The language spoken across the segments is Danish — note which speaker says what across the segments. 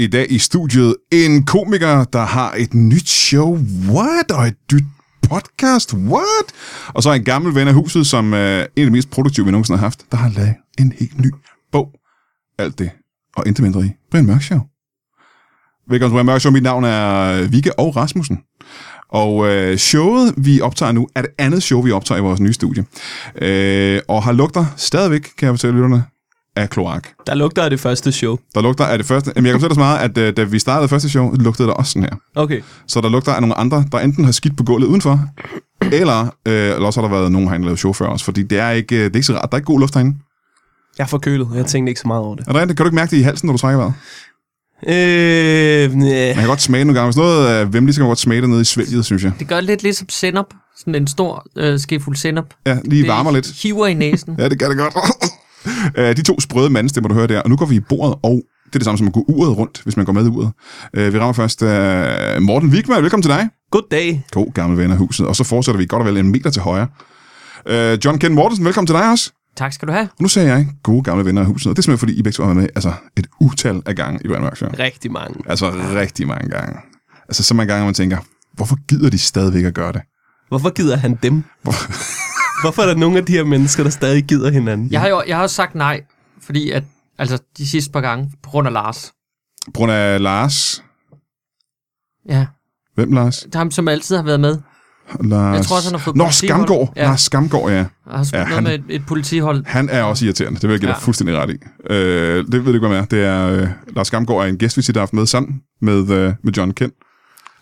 Speaker 1: I dag i studiet en komiker, der har et nyt show, what, og et nyt podcast, what? Og så en gammel ven af huset, som er en af de mest produktive, vi nogensinde har haft, der har lavet en helt ny bog. Alt det, og intet mindre i, Brian Mørk Show. Velkommen til Brian Mørk Show. Mit navn er øh, Vigge og Rasmussen. Og øh, showet, vi optager nu, er det andet show, vi optager i vores nye studie. Øh, og har lugter stadigvæk, kan jeg fortælle lytterne, af kloak.
Speaker 2: Der lugter af det første show.
Speaker 1: Der lugter af det første... Jamen, jeg kan fortælle dig så meget, at øh, da vi startede første show, lugtede der også sådan her.
Speaker 2: Okay.
Speaker 1: Så der lugter af nogle andre, der enten har skidt på gulvet udenfor, eller, øh, eller også har der været nogen herinde, der lavede show før os, fordi det er, ikke, øh, det er ikke så rart. Der er ikke god luft herinde.
Speaker 2: Jeg er forkølet. Jeg tænkte ikke så meget over det.
Speaker 1: Er det rigtigt? Kan du ikke mærke det i halsen, når du trækker vejret?
Speaker 2: Øh,
Speaker 1: Man
Speaker 2: næh.
Speaker 1: kan godt smage det nogle gange. Hvis noget er vemmeligt, så kan man godt smage det nede i svælget, synes jeg.
Speaker 3: Det gør lidt ligesom sennep. Sådan en stor øh, skefuld sennep.
Speaker 1: Ja, lige varmer lidt.
Speaker 3: hiver i næsen.
Speaker 1: Ja, det gør det godt. Øh, de to sprøde mandestemmer, du hører der. Og nu går vi i bordet, og det er det samme som at gå uret rundt, hvis man går med i uret. Øh, vi rammer først øh, Morten Wigman. Velkommen til dig.
Speaker 2: God dag.
Speaker 1: God gammel ven af huset. Og så fortsætter vi godt og vel en meter til højre. Øh, John Ken Mortensen, velkommen til dig også.
Speaker 3: tak skal du have.
Speaker 1: Og nu sagde jeg gode gamle venner af huset, og det er simpelthen fordi, I begge to har været med altså, et utal af gange i Brian Mørk Show.
Speaker 2: Rigtig mange.
Speaker 1: Altså rigtig mange gange. Altså så mange gange, hvor man tænker, hvorfor gider de stadigvæk at gøre det?
Speaker 2: Hvorfor gider han dem? Hvorfor er der nogle af de her mennesker, der stadig gider hinanden?
Speaker 3: Jeg har jo jeg har også sagt nej, fordi at, altså de sidste par gange, på grund af Lars.
Speaker 1: På grund af Lars.
Speaker 3: Ja,
Speaker 1: Hvem Lars?
Speaker 3: det er ham, som altid har været med.
Speaker 1: Lars.
Speaker 3: Jeg tror også, han har fået
Speaker 1: Nå,
Speaker 3: politihold.
Speaker 1: Skamgård. Ja.
Speaker 3: Ja.
Speaker 1: Lars Skamgård, ja.
Speaker 3: Og har spillet
Speaker 1: Ja,
Speaker 3: ja, noget
Speaker 1: han-
Speaker 3: med et, et politihold.
Speaker 1: Han er også irriterende, det vil jeg give dig
Speaker 3: Ja.
Speaker 1: fuldstændig ret i. Øh, det ved du ikke, hvad med er. Det er, øh, Lars Skamgård er en gæst, vi sidder haft med sammen med, øh, med John Kent.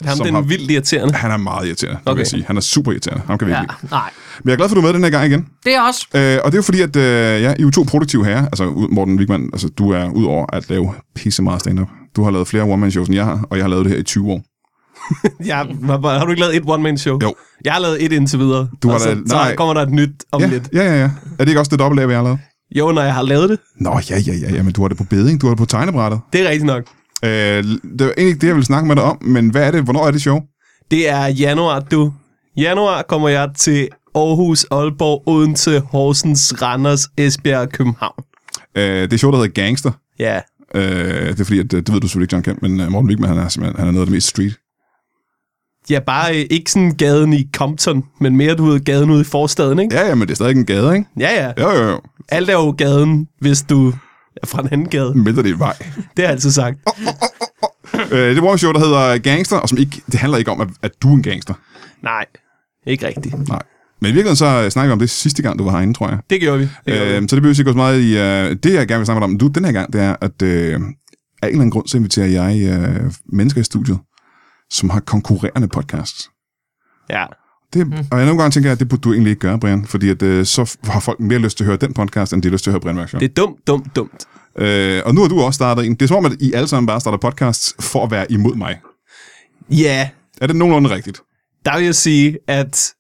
Speaker 2: Ham,
Speaker 1: som
Speaker 2: den
Speaker 1: har-
Speaker 2: har... vildt irriterende.
Speaker 1: Han er meget irriterende, okay. vil jeg
Speaker 2: Okay.
Speaker 1: sige. Han er super irriterende. Ham kan vi ikke
Speaker 3: Ja,
Speaker 1: lide.
Speaker 3: nej.
Speaker 1: Men jeg er glad for, at du er med den her gang igen.
Speaker 3: Det er også.
Speaker 1: Øh, og det er jo fordi, at øh, ja, I er jo to produktive herrer. Altså, ud- Morten Wigman, altså, du er ud over at lave pisse meget stand-up. Du har lavet flere one-man-shows, end jeg har, og jeg har lavet det her i 20 år.
Speaker 2: Jeg, har- har, har du ikke lavet et one-man-show?
Speaker 1: Jo.
Speaker 2: Jeg har lavet et indtil videre.
Speaker 1: Du har
Speaker 2: og så,
Speaker 1: lavet- nej.
Speaker 2: så kommer der et nyt om
Speaker 1: ja,
Speaker 2: lidt.
Speaker 1: ja, ja, ja. Er det ikke også det dobbelt af, hvad jeg har lavet?
Speaker 2: Jo, når jeg har lavet det.
Speaker 1: Nå, ja, ja, ja, ja, men du har det på beding, du har det på tegnebrættet.
Speaker 2: Det er rigtigt nok.
Speaker 1: Øh, det var egentlig ikke det, jeg ville snakke med dig om, men hvad er det? Hvornår er det show?
Speaker 2: Det er januar, du. Januar kommer jeg til Aarhus, Aalborg, Odense, Horsens, Randers, Esbjerg og København.
Speaker 1: Øh, det er show, der hedder Gangster.
Speaker 2: Ja,
Speaker 1: Øh, det er fordi, at, øh, det ved du selvfølgelig ikke, John Kemp, men øh, Morten Wigman, han er, simpelthen- han er noget af det mest street.
Speaker 2: ja bare øh, ikke sådan gaden i Compton, men mere, du ved, gaden ude i forstaden, ikke?
Speaker 1: Ja, ja, men det er stadig en gade, ikke?
Speaker 2: Ja, ja.
Speaker 1: Jo, jo, jo.
Speaker 2: Alt er jo gaden, hvis du er fra en anden gade.
Speaker 1: Mindre det er vej.
Speaker 2: Det har jeg altid sagt.
Speaker 1: Øh, det var en show, der hedder Gangster, og som ikke, det handler ikke om, at, at du er en gangster.
Speaker 2: Nej, ikke rigtigt.
Speaker 1: Nej. Men i virkeligheden så øh, snakker vi om det sidste gang, du var herinde, tror jeg.
Speaker 2: Det gjorde vi. Det gjorde vi.
Speaker 1: Øh, så det behøver ikke gå så meget i... Øh, det, jeg gerne vil snakke med dig om du, den her gang, det er, at øh, af en eller anden grund, så inviterer jeg øh, mennesker i studiet, som har konkurrerende podcasts.
Speaker 2: Ja.
Speaker 1: Det, mm. Og jeg nogle gange tænker, jeg, at det burde du egentlig ikke gøre, Brian, fordi at, øh, så f- har folk mere lyst til at høre den podcast, end de har lyst til at høre Brian Mørk Show.
Speaker 2: Det er dumt, dumt, dumt.
Speaker 1: Øh, og nu har du også startet en. Det er som om, at I alle sammen bare starter podcasts for at være imod mig.
Speaker 2: Ja,
Speaker 1: Er det nogenlunde rigtigt?
Speaker 2: der vil jeg sige, at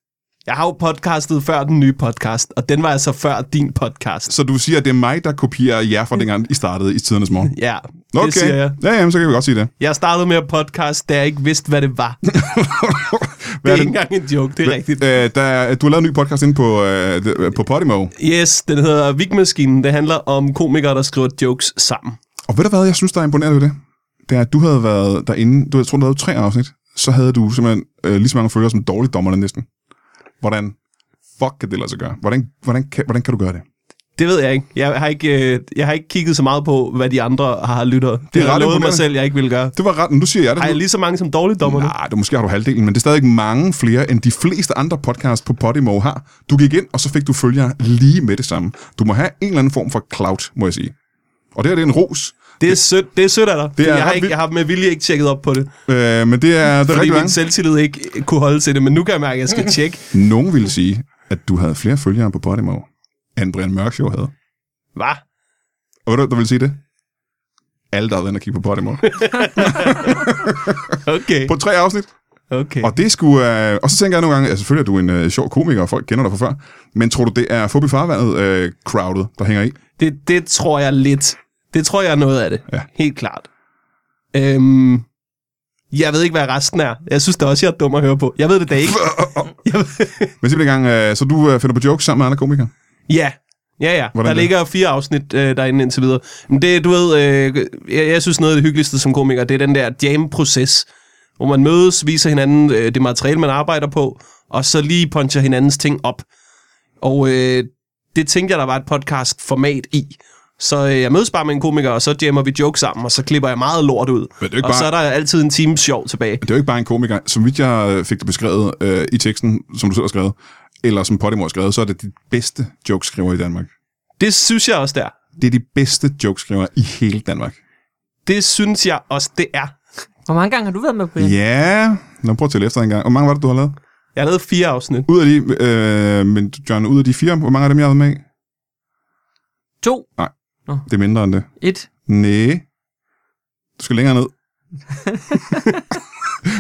Speaker 2: jeg har jo podcastet før den nye podcast, og den var altså før din podcast.
Speaker 1: Så du siger, at det er mig, der kopierer jer fra dengang, I startede i tidernes morgen?
Speaker 2: Ja,
Speaker 1: Nå,
Speaker 2: Mm. det siger jeg.
Speaker 1: Ja, jamen, så kan vi godt sige det.
Speaker 2: Jeg startede med at podcast, da jeg ikke vidste, hvad det var. Det
Speaker 1: Hvad
Speaker 2: er ikke engang en joke, det er rigtigt.
Speaker 1: Øh, der, er- du har lavet en ny podcast inde på, øh, d- på Podimo.
Speaker 2: Yes, den hedder Vigmaskinen. Det handler om komikere, der skriver jokes sammen.
Speaker 1: Og ved du hvad, jeg synes, der er imponerende ved det? Det er, at du havde været derinde, du, jeg tror, du lavede tre afsnit, så havde du simpelthen øh, lige så mange følgere som dårligdommerne næsten. Hvordan fuck kan det lade sig gøre? Hvordan, hvordan, kan, hvordan kan du gøre det?
Speaker 2: Det ved jeg ikke. Jeg har ikke, øh, jeg har ikke kigget så meget på, hvad de andre har lyttet. Det, det
Speaker 1: ret
Speaker 2: har jeg lovet mig
Speaker 1: imponerende.
Speaker 2: selv, jeg ikke ville gøre.
Speaker 1: Det var ret, men nu siger jeg det.
Speaker 2: Har jeg lige så mange som dårligdommerne?
Speaker 1: Nej, du måske har du halvdelen, men det er stadig mange flere, end de fleste andre podcasts på Podimo har. Du gik ind, og så fik du følgere lige med det samme. Du må have en eller anden form for clout, må jeg sige. Og det her det er en ros,
Speaker 2: Det er sødt, det er sødt af dig.
Speaker 1: er
Speaker 2: Det er jeg,
Speaker 1: ret
Speaker 2: har ikke,
Speaker 1: vildt.
Speaker 2: jeg har med vilje ikke tjekket op på det,
Speaker 1: øh, men det er, det er
Speaker 2: fordi
Speaker 1: rigtig
Speaker 2: min
Speaker 1: mange.
Speaker 2: selvtillid ikke kunne holde til det, men nu kan jeg mærke, at jeg skal tjekke.
Speaker 1: Nogen ville sige, at du havde flere følgere på Podimo, end Brian Mørk Show havde.
Speaker 2: Hvad?
Speaker 1: Og ved du, hvem der ville sige det? Alle, der har været inde og kigge på Podimo.
Speaker 2: Okay,
Speaker 1: På tre afsnit.
Speaker 2: okay.
Speaker 1: Og det skulle... Øh, og så tænker jeg nogle gange, altså selvfølgelig er du en øh, sjov komiker, og folk kender dig fra før, men tror du, det er Fobi Farvandet øh, crowded, der hænger i?
Speaker 2: Det, det tror jeg lidt. Det tror jeg er noget af det.
Speaker 1: Ja.
Speaker 2: Helt klart. Øhm, jeg ved ikke, hvad resten er. Jeg synes da også, jeg er dum at høre på. Jeg ved det da ikke. Jeg ved,
Speaker 1: Men simpelthen gang, øh, så du øh, finder på jokes sammen med andre komikere?
Speaker 2: ja, Ja, ja.
Speaker 1: Hvordan
Speaker 2: Hvordan der
Speaker 1: det?
Speaker 2: ligger fire afsnit øh, derinde indtil videre. Men det, du ved, øh, jeg, jeg synes noget af det hyggeligste som komiker, det er den der jam-proces, hvor man mødes, viser hinanden øh, det materiale, man arbejder på, og så lige puncher hinandens ting op. Og øh, det tænkte jeg, der var et podcast-format i. Så øh, jeg mødes bare med en komiker, og så jammer vi jokes sammen, og så klipper jeg meget lort ud.
Speaker 1: Men det er jo ikke
Speaker 2: og
Speaker 1: bare-
Speaker 2: så er der altid en time sjov tilbage.
Speaker 1: Det er jo ikke bare en komiker. Som vidt jeg øh, fik det beskrevet øh, i teksten, som du selv har skrevet, eller som Podimo har skrevet, så er det de bedste jokeskriver i Danmark.
Speaker 2: Det synes jeg også, der.
Speaker 1: Det er de bedste jokeskriver i hele Danmark.
Speaker 2: Det synes jeg også, det er.
Speaker 3: Hvor mange gange har du været med, Brian?
Speaker 1: Ja, Nå, prøv at tælle efter en gang. Hvor mange var det, du har lavet?
Speaker 2: Jeg har lavet fire afsnit.
Speaker 1: Ud af de, øh, men John, ud af de fire, hvor mange af dem, jeg har været med i?
Speaker 3: To?
Speaker 1: Det er mindre end det.
Speaker 3: Et?
Speaker 1: Næh. Du skal længere ned.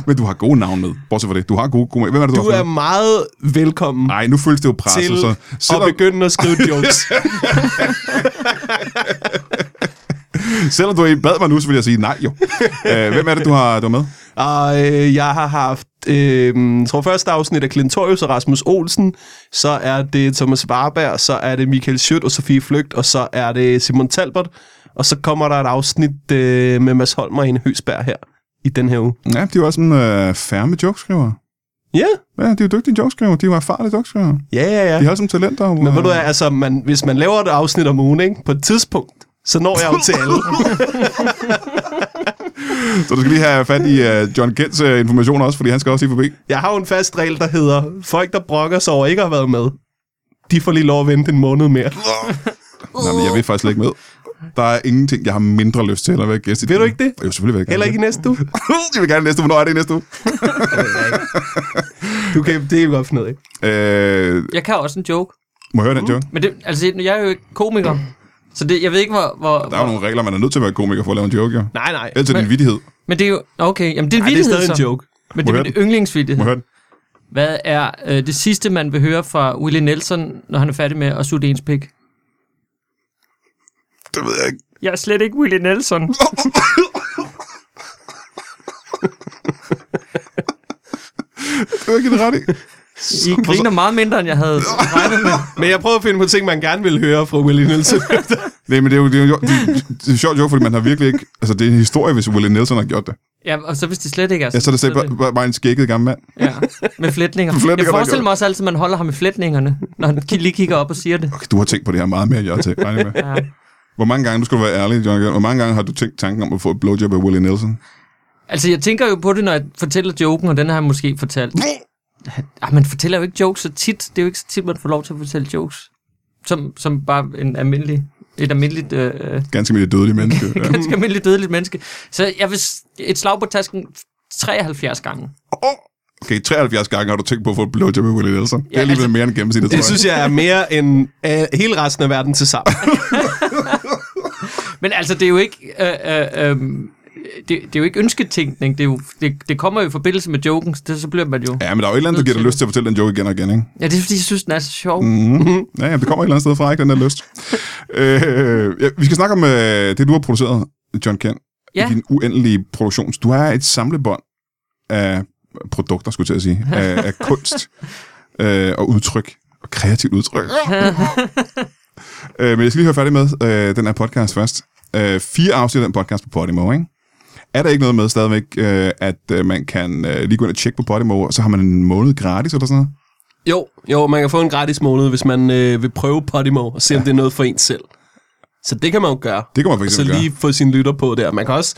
Speaker 1: men du har gode navn med, bortset fra det. Du har gode, gode Hvem er det, du,
Speaker 2: Du
Speaker 1: har
Speaker 2: er meget velkommen.
Speaker 1: Nej, nu føles det jo presset,
Speaker 2: til
Speaker 1: så
Speaker 2: at
Speaker 1: selvom,
Speaker 2: begynde at skrive jokes.
Speaker 1: selvom du bad mig nu, så vil jeg sige nej jo. øh, hvem er det, du har, du har med?
Speaker 2: og øh, jeg har haft, øh, jeg tror første afsnit af Clintorius og Rasmus Olsen, så er det Thomas Warberg, så er det Michael Schødt og Sofie Flygt, og så er det Simon Talbot, og så kommer der et afsnit øh, med Mads Holm og Ane Høsberg her i den her uge.
Speaker 1: Ja, de er jo også en øh, færme jokeskriver.
Speaker 2: Ja,
Speaker 1: Ja, de er jo dygtige jokeskriver. De er jo erfarne jokeskriver.
Speaker 2: ja, ja.
Speaker 1: De
Speaker 2: ja.
Speaker 1: har som talenter.
Speaker 2: Men ved du hvad, altså, man, hvis man laver et afsnit om ugen, ikke, på et tidspunkt, så når jeg jo til alle.
Speaker 1: Så du skal lige have fat i øh, John Kents øh, informationer også, fordi han skal også lige forbi.
Speaker 2: Jeg har jo en fast regel, der hedder, folk, der brokker sig over ikke at have været med, de får lige lov at vente en måned mere.
Speaker 1: Nå, men jeg vil faktisk slet ikke med. Der er ingenting, jeg har mindre lyst til at være gæst i.
Speaker 2: Vil du ikke det?
Speaker 1: Jo, selvfølgelig vil jeg gerne
Speaker 2: Heller ikke i
Speaker 1: det.
Speaker 2: næste uge.
Speaker 1: jeg vil gerne næste uge. Hvornår er det i næste uge?
Speaker 2: Du kan, det er jo godt finde ud af.
Speaker 1: Øh,
Speaker 3: Jeg kan også en joke.
Speaker 1: må jeg høre den, John?
Speaker 3: Men det, altså, jeg er jo ikke komiker. Så det, jeg ved ikke, hvor... hvor,
Speaker 1: Der er jo
Speaker 3: hvor
Speaker 1: nogle regler, man er nødt til at være komiker for at lave en joke, jo.
Speaker 2: Nej, nej.
Speaker 1: Ellers er det en vittighed.
Speaker 3: men det er jo... Okay, jamen det er en
Speaker 2: Nej, det er
Speaker 3: vittighed,
Speaker 2: stadig en
Speaker 3: så.
Speaker 2: joke.
Speaker 3: Men
Speaker 1: Må
Speaker 3: det
Speaker 1: jeg
Speaker 3: er
Speaker 1: høre
Speaker 3: min
Speaker 1: den? Må jeg
Speaker 3: yndlingsvittighed.
Speaker 1: høre den?
Speaker 3: Hvad er øh, det sidste, man vil høre fra Willie Nelson, når han er færdig med at sutte ens pik?
Speaker 1: Det ved jeg ikke.
Speaker 3: Jeg er slet ikke Willie Nelson.
Speaker 1: Det er ikke det rette.
Speaker 3: I griner meget mindre, end jeg havde regnet med.
Speaker 2: Men jeg prøver at finde på ting, man gerne vil høre fra Willie Nielsen.
Speaker 1: Nej, men det er jo det er, jo, det, det er en sjov joke, fordi man har virkelig ikke... Altså, det er en historie, hvis Willie Nelson har gjort det.
Speaker 3: Ja, og så hvis det slet ikke er
Speaker 1: Ja, så er det
Speaker 3: sådan,
Speaker 1: selv bare, bare, bare en skækket gammel mand.
Speaker 3: Ja, med flætninger.
Speaker 1: flætninger,
Speaker 3: jeg
Speaker 1: der
Speaker 3: forestiller
Speaker 1: gør-
Speaker 3: mig også altid, at man holder ham i flætningerne, når han ki- lige kigger op og siger det.
Speaker 1: Okay, du har tænkt på det her meget mere, end jeg har tænkt. regner jeg med.
Speaker 3: Ja.
Speaker 1: Hvor mange gange, du skal du være ærlig, John, hvor mange gange har du tænkt tanken om at få et blowjob af Willie Nelson?
Speaker 3: Altså, jeg tænker jo på det, når jeg fortæller joken, og den har jeg måske fortalt. Ah, man fortæller jo ikke jokes så tit. Det er jo ikke så tit, man får lov til at fortælle jokes. Som, som bare en almindelig, et almindeligt, øh, øh,
Speaker 1: Ganske mere dødelig menneske. Ja.
Speaker 3: ganske almindeligt dødeligt menneske. Så jeg vil s- et slag på tasken 73 gange.
Speaker 1: Åh! Okay, 73 gange har du tænkt på at få et blowjob af Willie Nelson. det er
Speaker 3: Ja,
Speaker 1: alligevel
Speaker 3: altså-
Speaker 1: mere end gennemsnittet, tror
Speaker 2: Det
Speaker 1: jeg.
Speaker 2: synes jeg er mere end øh, hele resten af verden til sammen.
Speaker 3: Men altså, det er jo ikke... Øh, øh, øh, det, det er jo ikke ønsketænkning. Det, er jo, det, det kommer jo i forbindelse med joken, så, det, så bliver man jo...
Speaker 1: Ja, men der er jo et eller andet, der giver dig lyst til at fortælle den joke igen og igen, ikke?
Speaker 3: Ja, det er fordi, jeg synes, den er så sjov. Mm.
Speaker 1: Mm-hmm. Ja, ja, det kommer et eller andet sted fra, ikke den der lyst. øh, ja, vi skal snakke om øh, det, du har produceret, John Kent,
Speaker 3: Ja.
Speaker 1: i din uendelige produktion. Du har et samlebånd af produkter, skulle jeg til at sige, af, af kunst øh, og udtryk, og kreativt udtryk. øh, men jeg skal lige høre færdig med øh, den her podcast først. Øh, fire afsnit af den podcast på Podimo, ikke? Er der ikke noget med stadigvæk, øh, at øh, man kan øh, lige gå ind og tjekke på Podimo, og så har man en måned gratis eller sådan noget?
Speaker 2: Jo, jo, man kan få en gratis måned, hvis man øh, vil prøve Podimo og se, om det er noget for en selv. Så det kan man jo gøre.
Speaker 1: Det kan man for
Speaker 2: Og så
Speaker 1: eksempel
Speaker 2: Altså, lige få sin lytter på der. Man kan også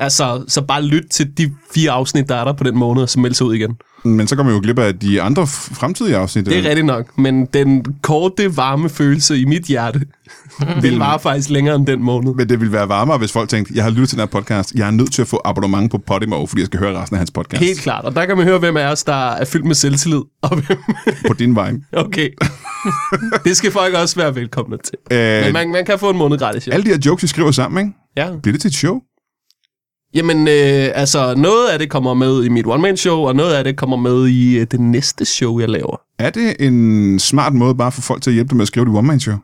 Speaker 2: altså, så bare lytte til de fire afsnit, der er der på den måned, og så melde sig ud igen.
Speaker 1: Men så kommer vi jo glip af de andre f- fremtidige afsnit. øh,
Speaker 2: Det er rigtigt nok, men den korte, varme følelse i mit hjerte, den var faktisk længere end den måned.
Speaker 1: Men det ville være varmere, hvis folk tænkte, jeg har lyttet til den her podcast, jeg er nødt til at få abonnement på Podimo, fordi jeg skal høre resten af hans podcast.
Speaker 2: Helt klart, og der kan man høre, hvem af os, der er fyldt med selvtillid, og hvem...
Speaker 1: På din vej.
Speaker 2: Okay. det skal folk også være velkomne til.
Speaker 1: Øh,
Speaker 2: Men man, man kan få en måned gratis, ja.
Speaker 1: Alle de her jokes, vi skriver sammen, ikke?
Speaker 2: ja.
Speaker 1: bliver det til et show?
Speaker 2: Jamen, øh, altså, noget af det kommer med i mit one-man-show, og noget af det kommer med i øh, det næste show, jeg laver.
Speaker 1: Er det en smart måde bare for folk til at hjælpe dem med at skrive det one-man-show?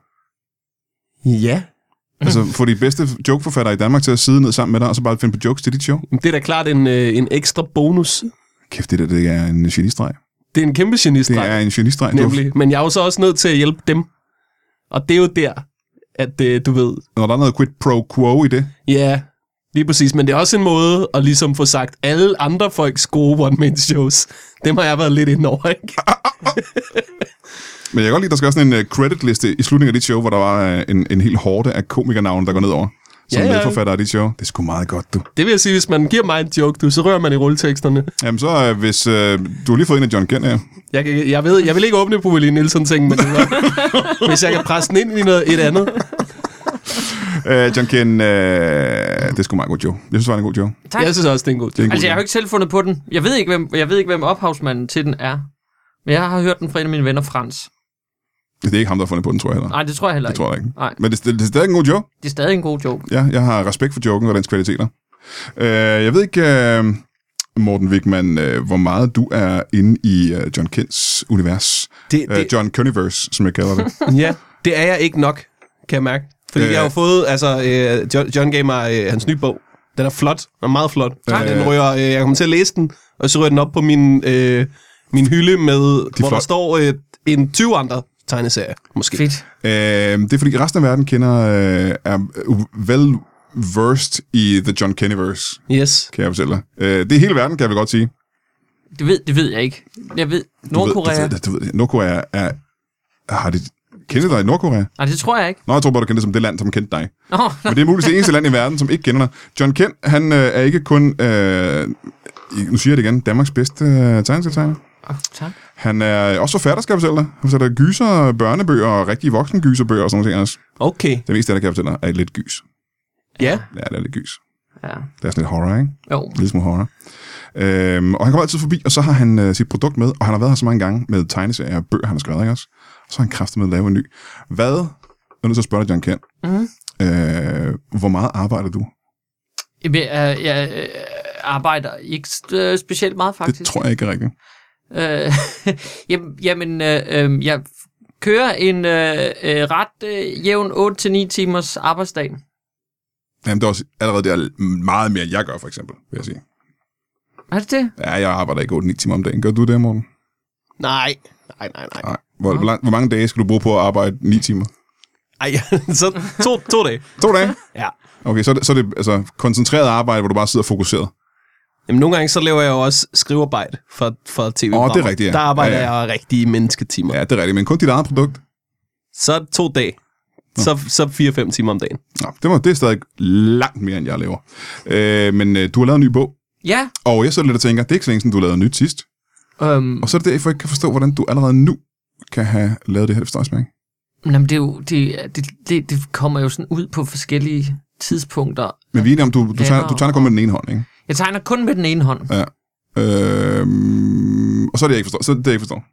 Speaker 2: Ja.
Speaker 1: Altså få de bedste jokeforfattere i Danmark til at sidde ned sammen med dig, og så bare finde på jokes til dit show?
Speaker 2: Det er da klart en, øh, en ekstra bonus.
Speaker 1: Kæft, det der det er en genistreg.
Speaker 2: Det er en kæmpe
Speaker 1: Det
Speaker 2: genistreg,
Speaker 1: er en genistreg. Det er jo-
Speaker 2: nemlig. Men jeg er jo så også nødt til at hjælpe dem. Og det er jo der, at øh, du ved,
Speaker 1: Når der er noget quid pro quo i det.
Speaker 2: ja, lige præcis. Men det er også en måde at ligesom få sagt alle andre folks gode one-man-shows. Dem har jeg været lidt ind over, ikke?
Speaker 1: Men jeg kan godt lide, at der skal være sådan en øh, creditliste i slutningen af dit show, hvor der var øh, en, en hel hårde af komikernavne, der går ned over. Som
Speaker 2: Ja,
Speaker 1: ja,
Speaker 2: ja.
Speaker 1: ja. medforfatter af dit show. Det er sgu meget godt, du.
Speaker 2: Det vil jeg sige, hvis man giver mig en joke, du, så rører man i rulleteksterne.
Speaker 1: Jamen så, øh, hvis øh, du har lige fået en af John Kent her.
Speaker 2: Jeg, kan- jeg, ved, jeg vil ikke åbne på Willie Nielsen-ting, men det var- hvis jeg kan presse den ind i noget, et andet.
Speaker 1: Øh, John Kent, øh, det er sgu meget god joke. Jeg synes, det var en god joke.
Speaker 3: Tak.
Speaker 2: Jeg synes også, det er en god
Speaker 1: Det er en
Speaker 2: joke.
Speaker 1: god
Speaker 3: Altså, jeg har jo
Speaker 1: joke.
Speaker 3: ikke selv fundet på den. Jeg ved ikke, hvem, jeg ved ikke, hvem ophavsmanden til den er. Men jeg har hørt den fra en af mine venner, Frans.
Speaker 1: Det er ikke ham, der har fundet på den, tror jeg heller.
Speaker 3: Nej, det tror jeg heller
Speaker 1: Det
Speaker 3: ikke.
Speaker 1: tror jeg ikke.
Speaker 3: Nej,
Speaker 1: Men det, det, det er stadig en god joke.
Speaker 3: det er stadig en god joke.
Speaker 1: Ja, jeg har respekt for joken og dens kvaliteter. Øh, jeg ved ikke, øh, Morten Wigman, øh, hvor meget du er inde i øh, John Kents univers.
Speaker 2: Det-
Speaker 1: Øh,
Speaker 2: det-
Speaker 1: John Cuniverse, som jeg kalder det.
Speaker 2: Ja, det er jeg ikke nok, kan jeg mærke. Fordi øh.
Speaker 1: Øh.
Speaker 2: jeg har jo fået, altså, øh, John, John gav mig øh, hans nye bog. Den er flot, den er meget flot. Øh. Den rører, øh, jeg kommer til at læse den, og så rører den op på min, øh, min hylde med, De hvor der
Speaker 1: flot.
Speaker 2: står øh, en 20 andre tegneserier, måske.
Speaker 3: Fedt.
Speaker 1: Øh, det er fordi resten af verden kender, øh, er vel versed i The John Kennyverse,
Speaker 2: Yes.
Speaker 1: kan jeg fortælle dig. Øh, det er hele verden, kan jeg vel godt sige. Du
Speaker 3: Det ved, det ved jeg ikke. Jeg ved, Nordkorea.
Speaker 1: Ved, du ved, du ved, det. Nordkorea er... Har de kendt dig i Nordkorea?
Speaker 3: Nej, det tror jeg ikke.
Speaker 1: Nå, jeg tror bare, du kendte det som det land, som kendte dig.
Speaker 3: Nå,
Speaker 1: Men det er muligvis det eneste land i verden, som ikke kender dig. John Kent, han øh, er ikke kun, øh, i- nu siger jeg det igen, Danmarks bedste øh, tegneserietegner.
Speaker 3: oh, tak.
Speaker 1: Han er også forfatter, skal jeg fortælle dig. Han fortæller gyser, børnebøger og rigtige voksengyserbøger og sådan noget også.
Speaker 2: Okay.
Speaker 1: Det meste af det, kan jeg fortælle dig, er lidt gys.
Speaker 2: Ja.
Speaker 1: Ja, det er lidt gys.
Speaker 3: Ja.
Speaker 1: Det er sådan lidt horror, ikke?
Speaker 3: Jo.
Speaker 1: En lille smule horror. Øhm, og han kommer altid forbi, og så har han øh, sit produkt med, og han har været her så mange gange med tegneserier og bøger, han har skrevet, ikke også? Og så har han kræftet med at lave en ny. Hvad, nu er jeg nødt til at spørge dig, John Kent,
Speaker 3: Mhm.
Speaker 1: øh, hvor meget arbejder du?
Speaker 3: Jamen, jeg, jeg øh, arbejder ikke øh, specielt meget, faktisk.
Speaker 1: Det tror jeg ikke er rigtigt.
Speaker 3: Øh, jamen, jamen øh, øh, jeg kører en øh, øh, ret øh, jævn 8-9 timers arbejdsdag.
Speaker 1: Jamen, det er også allerede der meget mere, end jeg gør, for eksempel, vil jeg sige.
Speaker 3: Er det det?
Speaker 1: Ja, jeg arbejder ikke 8-9 timer om dagen. Gør du det, Morten?
Speaker 2: Nej. Nej, nej, nej.
Speaker 1: Nej. Hvor, hvor, lang, hvor mange dage skal du bruge på at arbejde 9 timer?
Speaker 2: Ej, så to, to dage.
Speaker 1: To dage?
Speaker 2: Ja.
Speaker 1: Okay, så er det, så er det altså, koncentreret arbejde, hvor du bare sidder fokuseret.
Speaker 2: Jamen, nogle gange så laver jeg jo også skrivearbejde for, for tv
Speaker 1: Åh, det er rigtigt, ja.
Speaker 2: Der arbejder
Speaker 1: Ja, ja.
Speaker 2: jeg rigtige mennesketimer.
Speaker 1: Ja, det er rigtigt, men kun dit eget produkt.
Speaker 2: Så to dage. Så, så 4-5 timer om dagen.
Speaker 1: Nå, det, må, det er stadig langt mere, end jeg laver. Øh, men øh, du har lavet en ny bog,
Speaker 3: Ja.
Speaker 1: og jeg sidder lidt og tænker, det er ikke så længe siden, du lavede nyt sidst.
Speaker 3: Øhm,
Speaker 1: Og så er det derfor, jeg ikke kan forstå, hvordan du allerede nu kan have lavet det her støjsmærke.
Speaker 3: jamen, det, er jo, det, er- det, det, det kommer jo sådan ud på forskellige tidspunkter.
Speaker 1: Men vi er enige om, du, du, tegner, du tegner kun med den ene hånd, ikke?
Speaker 3: Jeg tegner kun med den ene hånd.
Speaker 1: Ja. Øh, og så er det, jeg ikke forstår. Så er det, jeg ikke forstår.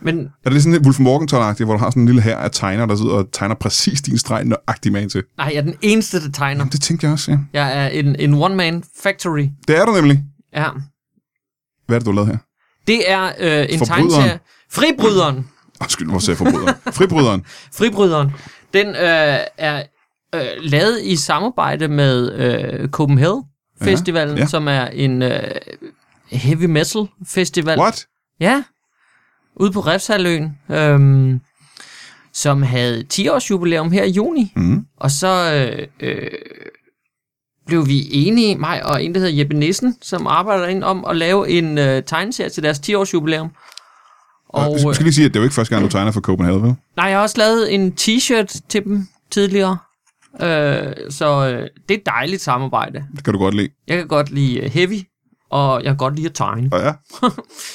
Speaker 3: Men
Speaker 1: Er det sådan lidt Wolf Morgenthaler-agtigt, hvor du har sådan en lille her af tegner, der sidder og tegner præcis din streg nøjagtig med til?
Speaker 3: nej, jeg er den eneste, der tegner.
Speaker 1: Jamen, det tænkte jeg også, ja.
Speaker 3: Jeg er en, en one-man factory.
Speaker 1: Det er du nemlig.
Speaker 3: Ja.
Speaker 1: Hvad er det, du har lavet her?
Speaker 3: Det er øh, en
Speaker 1: Forbryderen.
Speaker 3: tegneserie. Fribryderen.
Speaker 1: Undskyld, hvor sagde jeg forbryderen? Fribryderen.
Speaker 3: Fribryderen, den øh, er øh, lavet i samarbejde med øh, Copenhagen Festivalen, ja,
Speaker 1: ja.
Speaker 3: ja. som er en øh, heavy metal festival.
Speaker 1: What?
Speaker 3: Ja, ude på Refshaløen, øhm, som havde 10 års jubilæum her i juni.
Speaker 1: Mhm.
Speaker 3: Og så øh, øh, blev vi enige, mig og en, der hedder Jeppe Nissen, som arbejder ind om at lave en øh, tegneserie til deres 10 års jubilæum.
Speaker 1: Og, jeg skal lige sige, at det er jo ikke første gang, du tegner for Copenhagen, vel?
Speaker 3: Nej, jeg har også lavet en t-shirt til dem tidligere. Øh, så øh, det er et dejligt samarbejde.
Speaker 1: Det kan du godt lide.
Speaker 3: Jeg kan godt lide øh, heavy, og jeg kan godt lide at tegne.
Speaker 1: Og ja,